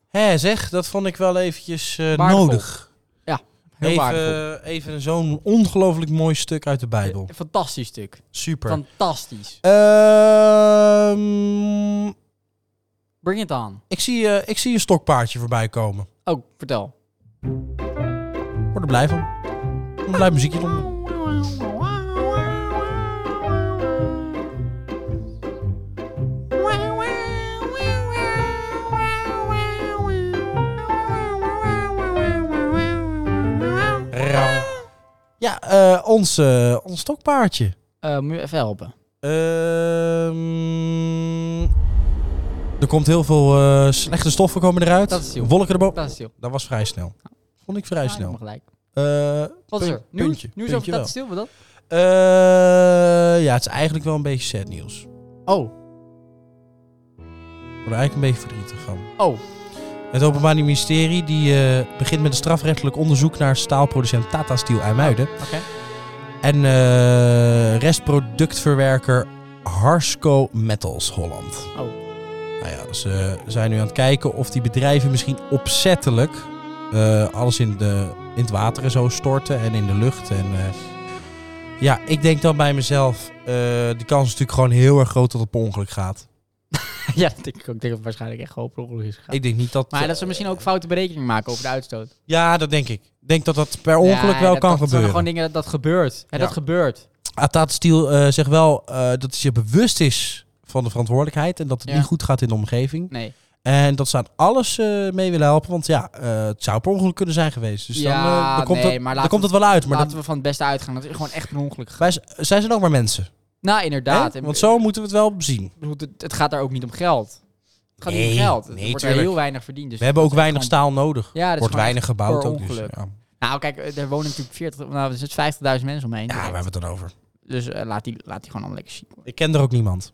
A: Hé, Eh, zeg, dat vond ik wel eventjes eh,
B: Waardevol.
A: nodig.
B: Heel waardevol. Eh,
A: even even zo'n ongelooflijk mooi stuk uit de Bijbel.
B: Fantastisch stuk.
A: Super.
B: Fantastisch.
A: Ehm,
B: Bring it on.
A: ik, zie, eh, ik zie een stokpaardje voorbij komen.
B: Oh, vertel.
A: Ik word er blij van. Een blij muziekje eronder. Ram. Ja, eh, ons, eh, ons stokpaardje.
B: Eh, moet je even helpen?
A: Ehm, er komt heel veel eh, slechte stoffen komen eruit.
B: Dat is heel-
A: Wolken erboven.
B: Dat is stil.
A: Dat was vrij snel. Vond ik vrij
B: Ja,
A: snel.
B: gelijk.
A: Eh,
B: Wat is
A: punt-
B: er? Nu,
A: puntje,
B: nu is
A: puntje
B: over
A: wel.
B: dat stil, maar dat?
A: Eh, ja, het is eigenlijk wel een beetje sad nieuws.
B: Oh,
A: Ik word er eigenlijk een beetje verdrietig van.
B: oh.
A: Het Openbaar Ministerie die, eh, begint met een strafrechtelijk onderzoek naar staalproducent Tata Steel IJmuiden.
B: Oh, Oké.
A: En eh, restproductverwerker Harsco Metals Holland.
B: Oh.
A: Nou ja, ze zijn nu aan het kijken of die bedrijven misschien opzettelijk eh, alles in, de, in het water en zo storten en in de lucht. En eh, ja, ik denk dan bij mezelf, eh de kans is natuurlijk gewoon heel erg groot dat het per ongeluk gaat.
B: *laughs* ja, dat denk ik ook. Ik denk dat het waarschijnlijk echt gewoon per ongeluk is gegaan.
A: Ik denk niet dat...
B: Maar dat ze misschien ook foute berekening maken over de uitstoot.
A: Ja, dat denk ik. Ik denk dat dat per ongeluk
B: Ja,
A: wel
B: dat-
A: kan
B: dat zijn
A: gebeuren.
B: gewoon dingen dat dat gebeurt. Hè,
A: Ja.
B: Dat gebeurt.
A: Atat Stiel eh, zegt wel eh, dat hij zich bewust is van de verantwoordelijkheid en dat het
B: Ja.
A: niet goed gaat in de omgeving.
B: Nee.
A: En dat ze aan alles eh, mee willen helpen, want ja, eh, het zou per ongeluk kunnen zijn geweest. Dus dan, eh,
B: Ja,
A: dan, komt,
B: nee,
A: het,
B: maar
A: dan
B: laten
A: komt het wel uit. Maar
B: Laten
A: dan,
B: we van het beste uitgaan. Dat is gewoon echt per ongeluk gegaan.
A: wij, z- zij zijn ook maar mensen.
B: Nou, inderdaad.
A: hè?
B: En-
A: Want zo moeten we het wel zien.
B: Ik bedoel, Het, het gaat daar ook niet om geld. Het gaat
A: Nee,
B: niet om geld. Er
A: nee,
B: wordt er
A: tuurlijk.
B: heel weinig verdiend. Dus
A: We hebben ook
B: dat is
A: weinig
B: gewoon-
A: staal nodig.
B: Ja, dat is
A: Wordt
B: gewoon
A: weinig gebouwd
B: per
A: ook. Dus, ja.
B: ongeluk. Nou, kijk, eh, er wonen natuurlijk 40, nou, er zit 50.000 mensen omheen.
A: ja, waar hebben we het dan over?
B: Dus eh, laat, die, laat die gewoon allemaal lekker zien.
A: Ik ken er ook niemand.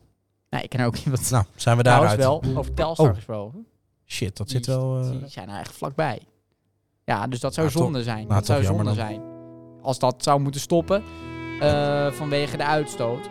B: Nee, ik ken er ook iemand.
A: Nou, zijn we
B: Trouwens
A: daaruit.
B: wel, over Telstar
A: Oh,
B: gesproken.
A: Shit, dat
B: Die
A: zit wel... eh,
B: Die zijn er echt vlakbij. Ja, dus dat zou
A: Nou,
B: zonde zijn.
A: nou,
B: dat zou
A: toch
B: zonde
A: jammer
B: zijn. Als dat zou moeten stoppen eh, vanwege de uitstoot.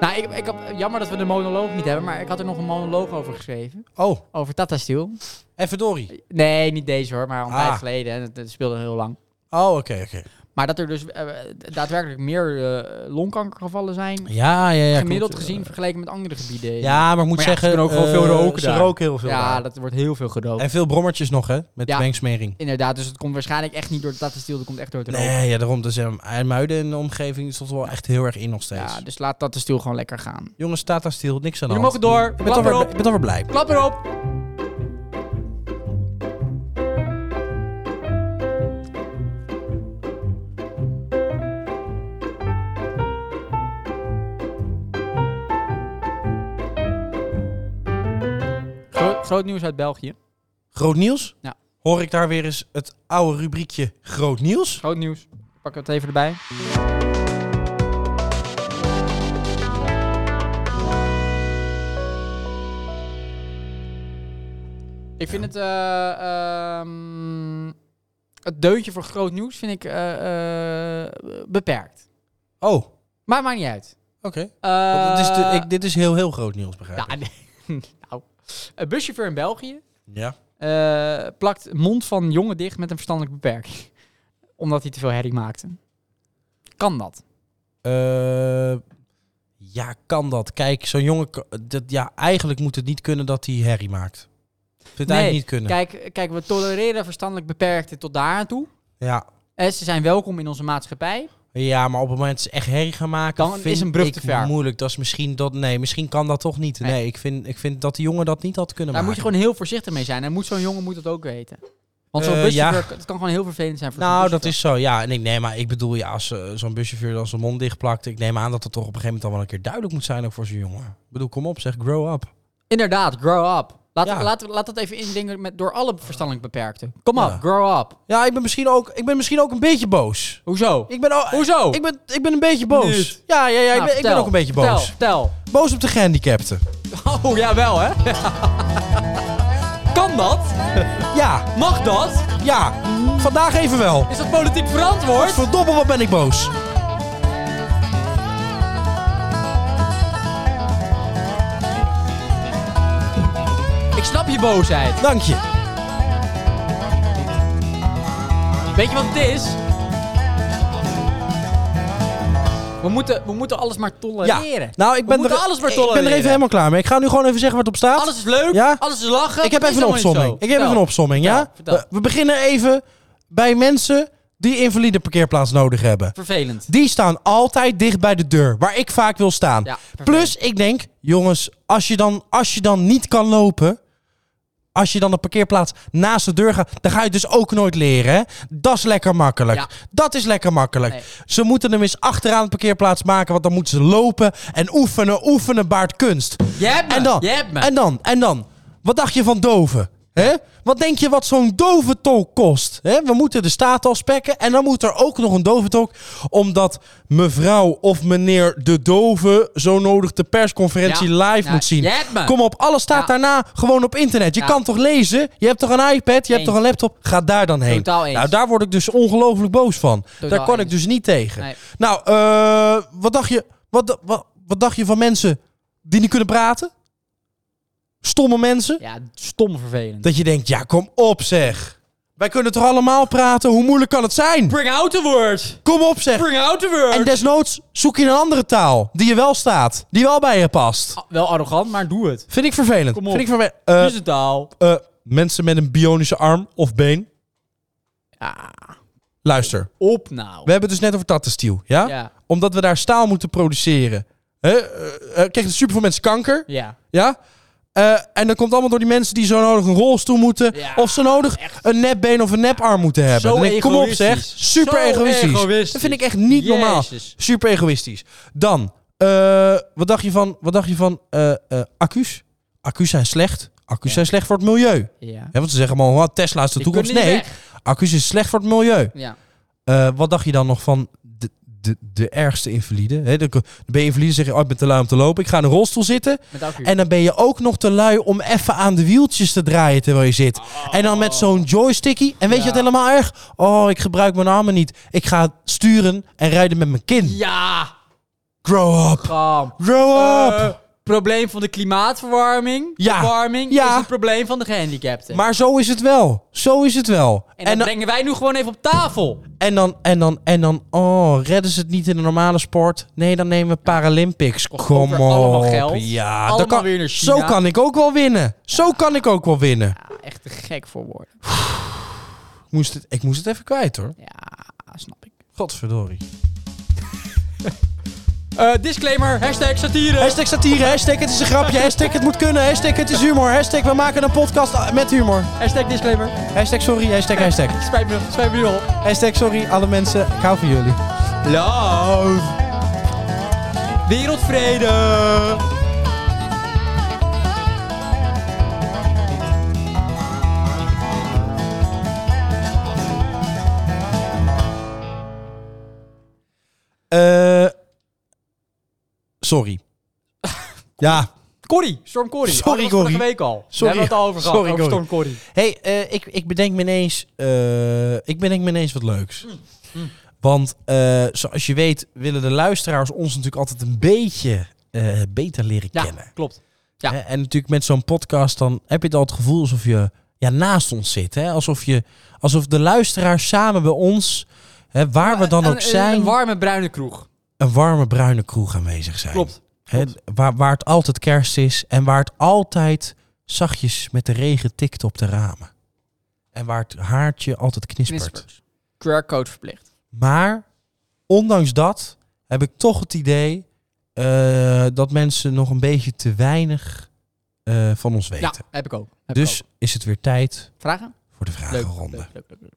B: Nou, ik, ik heb, jammer dat we de monoloog niet hebben, maar ik had er nog een monoloog over geschreven.
A: Oh,
B: Over Tata Steel.
A: even dorie.
B: Nee, niet deze hoor, maar een
A: Ah.
B: tijd geleden. En het, het speelde heel lang.
A: Oh, oké, oké.
B: Maar dat er dus eh, daadwerkelijk meer eh, longkankergevallen zijn.
A: Ja, ja, ja.
B: gemiddeld
A: klopt.
B: gezien vergeleken met andere gebieden.
A: Ja, maar ik
B: Maar
A: moet
B: ja, ze
A: zeggen...
B: kunnen ook gewoon
A: eh,
B: veel roken
A: Ze
B: daar.
A: roken heel veel
B: ja
A: daar.
B: dat wordt heel veel gerookt.
A: En veel brommertjes nog, hè? Met
B: Ja.
A: wengsmering.
B: Inderdaad, dus het komt waarschijnlijk echt niet door de Tata Steel, dat komt echt door het roken.
A: Nee, ja, daarom. Dus um, IJmuiden in de omgeving is dat wel echt heel erg in nog steeds.
B: Ja, dus laat Tata Steel gewoon lekker gaan.
A: Jongens, Tata Steel, niks aan de
B: Jullie
A: hand.
B: mogen door.
A: Ik ben toch
B: Klap
A: weer- ik
B: erop.
A: ben toch weer blij.
B: Klap erop. Gro- groot nieuws uit België.
A: Groot nieuws?
B: Ja.
A: Hoor ik daar weer eens het oude rubriekje Groot nieuws?
B: Groot nieuws. Pak het even erbij. Ik vind het. eh, ehm, het deuntje voor groot nieuws vind ik eh, eh, beperkt.
A: Oh, oké.
B: Maar maakt niet uit.
A: Want het is de-
B: Eh,
A: ik- dit is heel, heel groot nieuws, begrijp ik.
B: ja, nee. *laughs* nou, een buschauffeur in België
A: Ja.
B: eh, plakt mond van jongen dicht met een verstandelijke beperking. *laughs* Omdat hij te veel herrie maakte. Kan dat?
A: Eh, ja, kan dat. Kijk, zo'n jongen... k- Dat, ja, eigenlijk moet het niet kunnen dat hij herrie maakt. Ik vind het
B: Nee,
A: eigenlijk niet kunnen.
B: Kijk, kijk, we tolereren verstandelijk beperkte tot daar aan toe.
A: Ja.
B: Eh, ze zijn welkom in onze maatschappij.
A: ja, maar op het moment dat ze echt herrie gaan maken...
B: Dan is
A: vind
B: een brug
A: ik
B: te ver.
A: moeilijk. Dat is misschien... Dat, nee, misschien kan dat toch niet. Nee,
B: Nee.
A: ik, vind, ik vind dat die jongen dat niet had kunnen
B: Daar moet
A: maken.
B: je gewoon heel voorzichtig mee zijn. En moet zo'n jongen moet dat ook weten. Want zo'n
A: Eh,
B: buschauffeur, het kan gewoon heel vervelend zijn voor zo'n
A: Nou, dat
B: buschauffeur.
A: is zo, ja. En ik neem maar, ik bedoel, ja, als eh, zo'n buschauffeur dan zijn mond dichtplakt, ik neem aan dat het toch op een gegeven moment dan wel een keer duidelijk moet zijn ook voor zo'n jongen. Ik bedoel, kom op, zeg, grow up.
B: Inderdaad, grow up. Laat,
A: Ja.
B: laat, laat dat even indingen met, door alle verstandelijk beperkten. Kom op,
A: Ja.
B: grow up.
A: Ja, ik ben misschien ook, ik ben misschien ook een beetje boos.
B: Hoezo?
A: Ik ben, ook,
B: Hoezo?
A: ik ben, ik ben een beetje boos.
B: Niet.
A: Ja, ja, ja, ik,
B: Nou,
A: ben, ik ben
B: vertel.
A: ook een beetje
B: Vertel,
A: boos.
B: Vertel,
A: Boos op de gehandicapten.
B: *laughs* Oh, jawel
A: *laughs*
B: hè. kan dat?
A: Ja,
B: Mag dat?
A: ja, vandaag even wel.
B: Is dat politiek verantwoord?
A: Verdomme, wat ben ik boos.
B: Ik snap je boosheid.
A: Dank je.
B: Weet je wat het is? We moeten, we moeten alles maar
A: Ja,
B: tolereren.
A: nou, ik ben,
B: moeten
A: er,
B: alles maar
A: ik ben er even
B: tolereren.
A: helemaal klaar mee. Ik ga nu gewoon even zeggen wat op staat.
B: Alles is leuk,
A: Ja?
B: alles is lachen.
A: Ik heb
B: Is
A: even een
B: allemaal niet
A: opsomming.
B: zo.
A: Ik heb even een
B: Vertel.
A: opsomming, ja? Eh,
B: Vertel,
A: We,
B: vertel.
A: we beginnen even bij mensen die invalide parkeerplaats nodig hebben.
B: Vervelend.
A: Die staan altijd dicht bij de deur, waar ik vaak wil staan.
B: Ja, vervelend.
A: Plus, ik denk, jongens, als je, dan, als je dan niet kan lopen... Als je dan de parkeerplaats naast de deur gaat, dan ga je het dus ook nooit leren. Hè? Dat is lekker makkelijk.
B: Ja.
A: Dat is lekker makkelijk.
B: Nee.
A: Ze moeten hem eens achteraan de parkeerplaats maken, want dan moeten ze lopen en oefenen. Oefenen baart kunst.
B: Je hebt me.
A: En dan,
B: Je hebt me.
A: en dan, en dan. Wat dacht je van doven? Hè? Wat denk je wat zo'n doventol kost? Hè? We moeten de staat al spekken en dan moet er ook nog een doventolk. Omdat mevrouw of meneer de dove zo nodig de persconferentie
B: Ja.
A: live
B: Ja,
A: moet zien.
B: je hebt me.
A: Kom op, alles staat
B: Ja.
A: daarna gewoon op internet. Je
B: Ja.
A: kan toch lezen? Je hebt toch een iPad? Je hebt
B: Eens.
A: toch een laptop? Ga daar dan heen.
B: Totaal eens.
A: Nou, daar word ik dus ongelooflijk boos van.
B: Totaal
A: daar kon ik
B: eens.
A: dus niet tegen.
B: Nee.
A: Nou, eh, wat, dacht je, wat, wat, wat dacht je van mensen die niet kunnen praten? Stomme mensen?
B: Ja, stom vervelend.
A: Dat je denkt, ja, kom op zeg. Wij kunnen toch allemaal praten? Hoe moeilijk kan het zijn?
B: Bring out the word.
A: Kom op zeg.
B: Bring out the word.
A: En desnoods zoek je een andere taal die je wel staat. Die wel bij je past.
B: Ah, Wel arrogant, maar doe het.
A: Vind ik vervelend.
B: Kom op.
A: Vind ik vervelend.
B: Uh,
A: Eh,
B: is het taal.
A: eh, mensen met een bionische arm of been.
B: Ja,
A: Luister,
B: op nou.
A: we hebben het dus net over tattenstiel, ja?
B: Ja.
A: Omdat we daar staal moeten produceren. Hè? eh, eh, krijgen superveel mensen kanker.
B: Ja.
A: Ja? Eh, en dat komt allemaal door die mensen die zo nodig een rolstoel moeten.
B: Ja,
A: of zo nodig een nepbeen of een neparm moeten hebben.
B: Zo
A: Dan denk ik, kom op zeg.
B: egoïstisch.
A: Super
B: Zo
A: egoïstisch.
B: egoïstisch.
A: Dat vind ik echt niet
B: Jezus.
A: normaal. Super egoïstisch. Dan, eh, wat dacht je van, wat dacht je van eh, eh, accu's? Accu's zijn slecht. Accu's zijn slecht voor het milieu.
B: Ja.
A: Hè, want ze zeggen allemaal, "Wat, Tesla is de
B: Die
A: toekomst.
B: kunnen
A: Nee,
B: niet weg.
A: accu's is slecht voor het milieu.
B: Ja.
A: Eh, wat dacht je dan nog van de, de, de ergste invalide? Hè, dan, kun- dan ben je invalide zeg je, oh, ik ben te lui om te lopen. Ik ga in een rolstoel zitten.
B: Met accu.
A: En dan ben je ook nog te lui om even aan de wieltjes te draaien terwijl je zit. En dan met zo'n joystickie. En weet
B: Ja.
A: je wat helemaal erg? Oh, ik gebruik mijn armen niet. Ik ga sturen en rijden met mijn kin.
B: Ja.
A: Grow up.
B: Gam.
A: Grow up.
B: Eh, probleem van de klimaatverwarming.
A: Ja.
B: Verwarming
A: Ja.
B: is het probleem van de gehandicapten.
A: maar zo is het wel. Zo is het wel.
B: en dat
A: En, dan,
B: brengen wij nu gewoon even op tafel.
A: en dan, en dan, en dan, oh, redden ze het niet in de normale sport? Nee, dan nemen we Paralympics.
B: Kost
A: Kom op.
B: over allemaal geld.
A: Ja,
B: Allemaal
A: dat kan,
B: weer naar
A: zo
B: China.
A: kan ik ook wel winnen. Zo kan ik ook wel winnen.
B: Ja, echt te gek voor woorden.
A: Ik moest het, ik moest het even kwijt hoor.
B: Ja, snap ik.
A: Godverdorie.
B: Eh, disclaimer, hashtag satire.
A: Hashtag satire, hashtag het is een grapje, hashtag het moet kunnen, hashtag het is humor, hashtag we maken een podcast met humor.
B: hashtag disclaimer.
A: Hashtag sorry, hashtag hashtag.
B: Spijt me, spijt me nu al.
A: Hashtag sorry, alle mensen, ik hou van jullie.
B: Love. Wereldvrede.
A: Eh *laughs* sorry. Ja.
B: Corrie, Storm Corrie.
A: Sorry,
B: Oh, dat was
A: Corrie.
B: Vorige week al.
A: Sorry.
B: We hebben het al over gehad,
A: Sorry,
B: over Storm
A: Corrie.
B: Corrie.
A: hey, eh, ik, ik bedenk me ineens... eh, ik bedenk me ineens wat leuks.
B: Mm,
A: Want eh, zoals je weet willen de luisteraars ons natuurlijk altijd een beetje eh, beter leren
B: Ja,
A: kennen.
B: klopt. Ja.
A: Hè, En natuurlijk met zo'n podcast dan heb je het al het gevoel alsof je ja, naast ons zit. Hè? Alsof, je, alsof de luisteraars samen bij ons, hè, waar we dan
B: Een-
A: ook
B: een-
A: zijn,
B: Een
A: een,
B: warme bruine kroeg.
A: warme bruine kroeg aanwezig zijn.
B: Klopt.
A: Hè,
B: klopt.
A: waar, waar het altijd kerst is en waar het altijd zachtjes met de regen tikt op de ramen. En waar het haartje altijd knispert.
B: Knispert. QR-code verplicht.
A: Maar ondanks dat heb ik toch het idee eh, dat mensen nog een beetje te weinig eh, van ons weten.
B: Ja, heb ik ook. Heb ik
A: Dus Ah,
B: ook.
A: is het weer tijd
B: Vragen?
A: voor de
B: Leuk.
A: vragenronde.
B: leuk, leuk, leuk, leuk.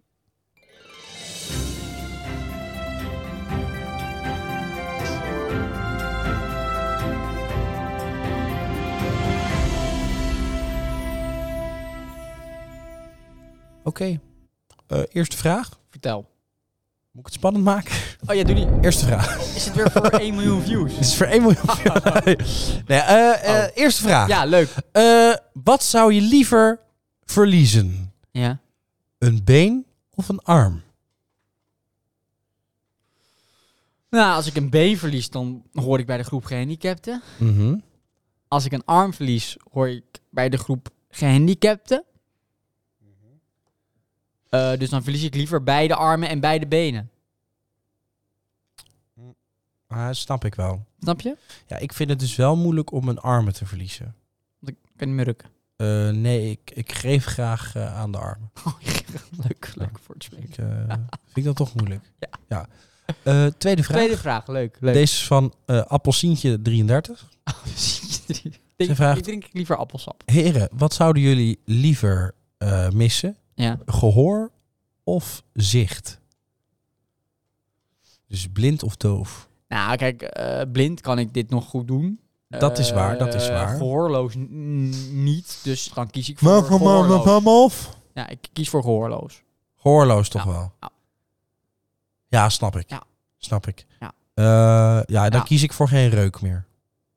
A: Oké. Eh, eerste vraag.
B: Vertel.
A: Moet ik het spannend maken? *laughs*
B: Oh ja, doe die.
A: Eerste vraag. *laughs*
B: Is het weer voor 1 miljoen views?
A: Dit is voor
B: *laughs*
A: 1 miljoen. nee, eh, eh,
B: Oh.
A: Eerste vraag.
B: Ja, leuk.
A: Eh, wat zou je liever verliezen?
B: Ja.
A: Een been of een arm?
B: Nou, als ik een B verlies, dan hoor ik bij de groep gehandicapten.
A: Mhm.
B: Als ik een arm verlies, hoor ik bij de groep gehandicapten.
A: Mhm.
B: Eh, dus dan verlies ik liever beide armen en beide benen.
A: Ah, snap ik wel.
B: Snap je?
A: Ja, ik vind het dus wel moeilijk om mijn armen te verliezen.
B: Want ik kan niet meer rukken.
A: Eh, nee, ik, ik geef graag eh, aan de armen.
B: Oh, *laughs* leuk, leuk voor het spelen.
A: Ik eh,
B: *laughs*
A: vind ik dat toch moeilijk.
B: Ja.
A: Eh, tweede vraag.
B: Tweede vraag, leuk. leuk. *laughs* Oh,
A: Deze is van eh Appelsientje 33.
B: ik,
A: vraagt-
B: ik drink liever appelsap.
A: Heren, wat zouden jullie liever eh, missen?
B: Ja.
A: Gehoor of zicht? Dus blind of doof?
B: Nou, kijk, eh, blind kan ik dit nog goed doen.
A: Dat is waar, dat is
B: Eh,
A: waar.
B: Gehoorloos n- n- niet, dus dan kies ik voor gehoorloos.
A: of?
B: Ja, ik kies voor gehoorloos.
A: Gehoorloos toch
B: Ja.
A: wel?
B: Ja.
A: Ja, snap ik.
B: Ja.
A: Snap ik.
B: Ja.
A: Eh, ja, dan
B: Ja.
A: kies ik voor geen reuk meer.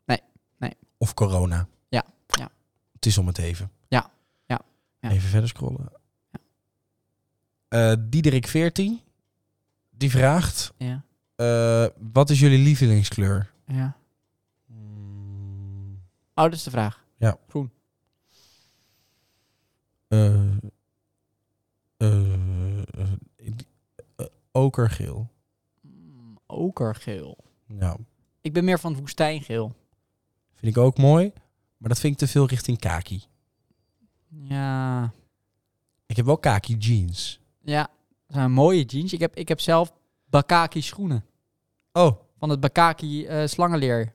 B: Nee, nee.
A: Of corona.
B: Ja, ja.
A: Het is om het even.
B: Ja, ja, ja.
A: Even verder scrollen. Eh, Diederik 14, die vraagt...
B: Ja,
A: eh, wat is jullie lievelingskleur?
B: ja. Oh, dat is de vraag.
A: Eh, eh, eh, ik- eh, okergeel. Nou,
B: Mm, Okergeel.
A: Ja,
B: Ik ben meer van het woestijngeel.
A: vind ik ook mooi. Maar dat vind ik te veel richting kaki.
B: Ja,
A: Ik heb wel kaki jeans.
B: ja. Dat zijn mooie jeans. Ik heb, ik heb zelf bakaki schoenen.
A: Oh,
B: Van het bakaki eh, slangenleer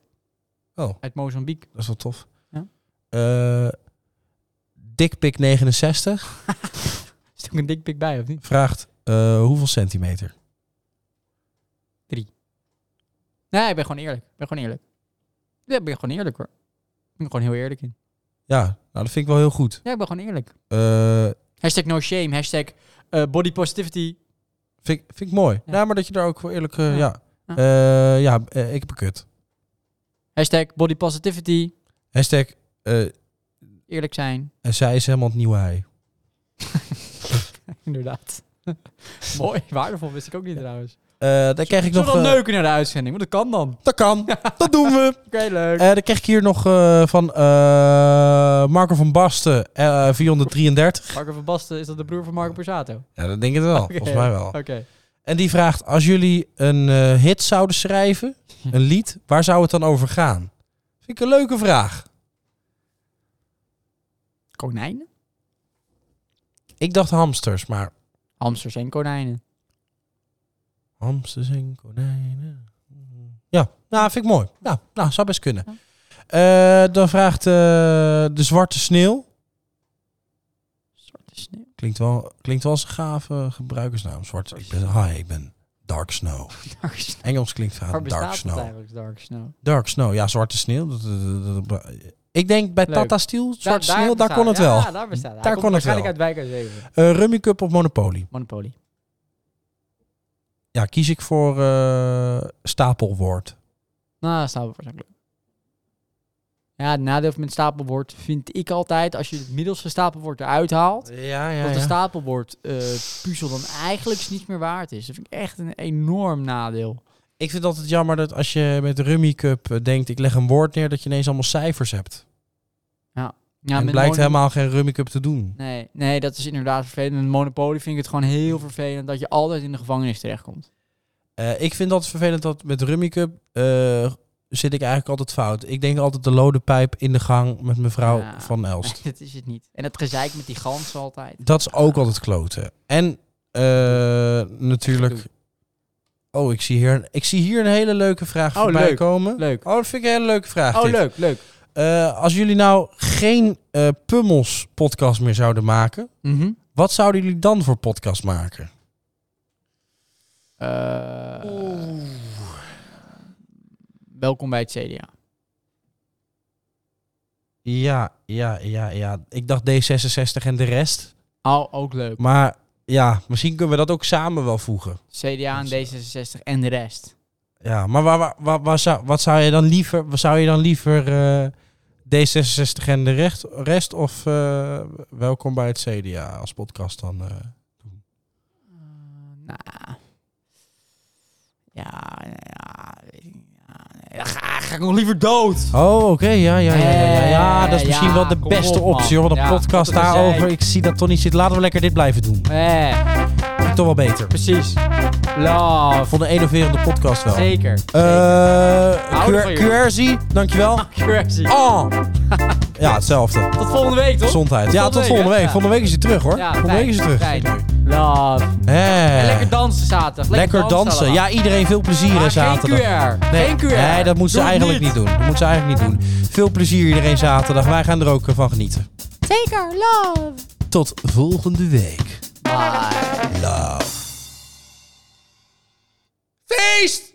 A: oh,
B: uit Mozambique.
A: dat is wel tof.
B: Ja.
A: Eh, Dickpick 69
B: Is er ook een dikpik bij, of niet?
A: vraagt eh, hoeveel centimeter?
B: Nee, ik ben gewoon eerlijk. Ik ben gewoon eerlijk. Ja, ik ben gewoon eerlijk hoor. Ik ben gewoon heel eerlijk in.
A: Ja, nou dat vind ik wel heel goed.
B: Ja, ik ben gewoon eerlijk.
A: Eh,
B: Hashtag no shame. Hashtag eh, body positivity.
A: vind, ik- vind ik mooi.
B: Ja.
A: Ja. maar dat je daar ook wel eerlijk... eh,
B: Ja.
A: ja,
B: Ja.
A: Eh, ja eh, ik heb een kut.
B: Hashtag body positivity.
A: Hashtag, eh,
B: Eerlijk zijn. *laughs*
A: en zij is helemaal het nieuwe hij.
B: *laughs* Inderdaad. Mooi. Waardevol wist ik ook niet trouwens.
A: Eh, dan krijg
B: Zullen
A: ik
B: we
A: nog...
B: dan
A: eh,
B: neuken naar de uitzending? Want dat kan dan. Oké,
A: Dat
B: *laughs*
A: kan. Dat doen we.
B: leuk.
A: Eh, dan kreeg ik hier nog eh, van eh, Marco van Basten, eh 433.
B: Marco van Basten, is dat de broer van Marco Borsato?
A: Ja, dat denk ik wel.
B: Oké.
A: Volgens mij wel.
B: Oké.
A: En die vraagt, als jullie een eh, hit zouden schrijven,
B: Hm.
A: een lied, waar zou het dan over gaan? Vind ik een leuke vraag.
B: Konijnen?
A: Ik dacht hamsters, maar
B: Hamsters en konijnen.
A: hamsters en konijnen. Ja, nou vind ik mooi. Ja, nou, zou best kunnen.
B: Ja.
A: Eh, dan vraagt eh, de zwarte sneeuw.
B: Zwarte sneeuw. *laughs*
A: Klinkt wel, klinkt wel als een gave gebruikersnaam. Zwarte, ik ben, hi, ik ben Dark Snow.
B: Dark snow.
A: Engels klinkt
B: Waar
A: vaak
B: bestaat
A: Dark
B: het
A: Snow.
B: eigenlijk, Dark Snow?
A: Dark Snow, ja, zwarte sneeuw. Dat- dat- dat- dat- Ik denk bij
B: Leuk.
A: Tata Steel, zwarte
B: daar
A: sneeuw, daar
B: bestaat-
A: kon het
B: ja,
A: wel.
B: daar bestaat Hij
A: Daar
B: komt
A: kon het
B: waarschijnlijk uit Wijk aan Zeven.
A: Eh, Rummy Cup of Monopoly?
B: Monopoly.
A: Ja, kies ik voor eh, stapelwoord.
B: Nou, stapelwoord is ook leuk. Ja, het nadeel met stapelwoord vind ik altijd... als je het middelste stapelwoord eruit haalt...
A: Ja, ja,
B: dat de stapelwoord eh, puzzel dan eigenlijk niets meer waard is. Dat vind ik echt een enorm nadeel.
A: Ik vind het altijd jammer dat als je met de Rummy Cup eh, denkt, ik leg een woord neer, dat je ineens allemaal cijfers hebt.
B: Ja,
A: en
B: met
A: het blijkt
B: Mono-
A: helemaal geen Rummy Cup te doen.
B: Nee, nee, dat is inderdaad vervelend. Met Monopoly vind ik het gewoon heel vervelend... dat je altijd in de gevangenis terechtkomt.
A: Eh, ik vind dat vervelend dat met de Rummy Cup eh, zit ik eigenlijk altijd fout. Ik denk altijd de lode pijp in de gang met mevrouw
B: Ja.
A: van
B: *laughs*
A: Elst.
B: dat is het niet. En het gezeik met die gans altijd.
A: Dat is ook altijd kloten. En eh, natuurlijk... Oh, ik zie, hier, ik zie hier een hele leuke vraag
B: Oh,
A: voorbij
B: leuk.
A: komen.
B: Leuk.
A: Oh, dat vind ik een hele leuke vraag.
B: Oh,
A: dit.
B: leuk, leuk.
A: Eh, als jullie nou geen eh, Pummels podcast meer zouden maken,
B: Mhm.
A: wat zouden jullie dan voor podcast maken?
B: Eh, welkom bij het CDA.
A: Ja, ja, ja, ja. Ik dacht D66 en de rest.
B: Al ook leuk.
A: Maar ja, misschien kunnen we dat ook samen wel voegen.
B: CDA en D66 en de rest.
A: Ja, maar waar, waar, waar, waar zou, wat zou je dan liever? wat Zou je dan liever eh, D66 en de recht, rest of eh, welkom bij het CDA als podcast dan? eh?
B: Eh, nou. Ja, ja, weet ik niet. ja, nee, dan ga, ga ik nog liever dood.
A: Oh, oké, ja, ja, ja, ja, ja, ja. Dat is
B: Eh,
A: misschien
B: ja,
A: wel de
B: kom
A: beste
B: op, man.
A: optie, hoor. Want een
B: Ja,
A: podcast
B: wat een
A: daarover,
B: gezeik.
A: ik zie dat toch niet zit. Laten we lekker dit blijven doen.
B: Eh,
A: Vind ik toch wel beter.
B: precies. Love.
A: Vond een enerverende podcast wel.
B: Zeker. *laughs*
A: Eh,
B: Houden van
A: QR
B: jullie.
A: QRZ, dankjewel.
B: Crazy.
A: Oh. Ja, hetzelfde.
B: Tot volgende week, toch?
A: Gezondheid. Ja,
B: Tot
A: tot volgende
B: week,
A: week.
B: hè?
A: Volgende week is hij terug, hoor.
B: Ja,
A: Volgende week is hij
B: fijn,
A: terug.
B: Love.
A: Hé.
B: En lekker dansen zaterdag.
A: Lekker dansen.
B: allemaal.
A: Ja, iedereen veel plezier hè,
B: Maar
A: zaterdag.
B: Geen QR.
A: Nee,
B: geen QR.
A: nee, dat moet ze
B: Doe het
A: eigenlijk niet doen. Dat moet ze eigenlijk niet doen. Veel plezier iedereen zaterdag. Wij gaan er ook eh, van genieten.
C: Zeker, love.
A: Tot volgende week.
B: Bye.
A: Feest!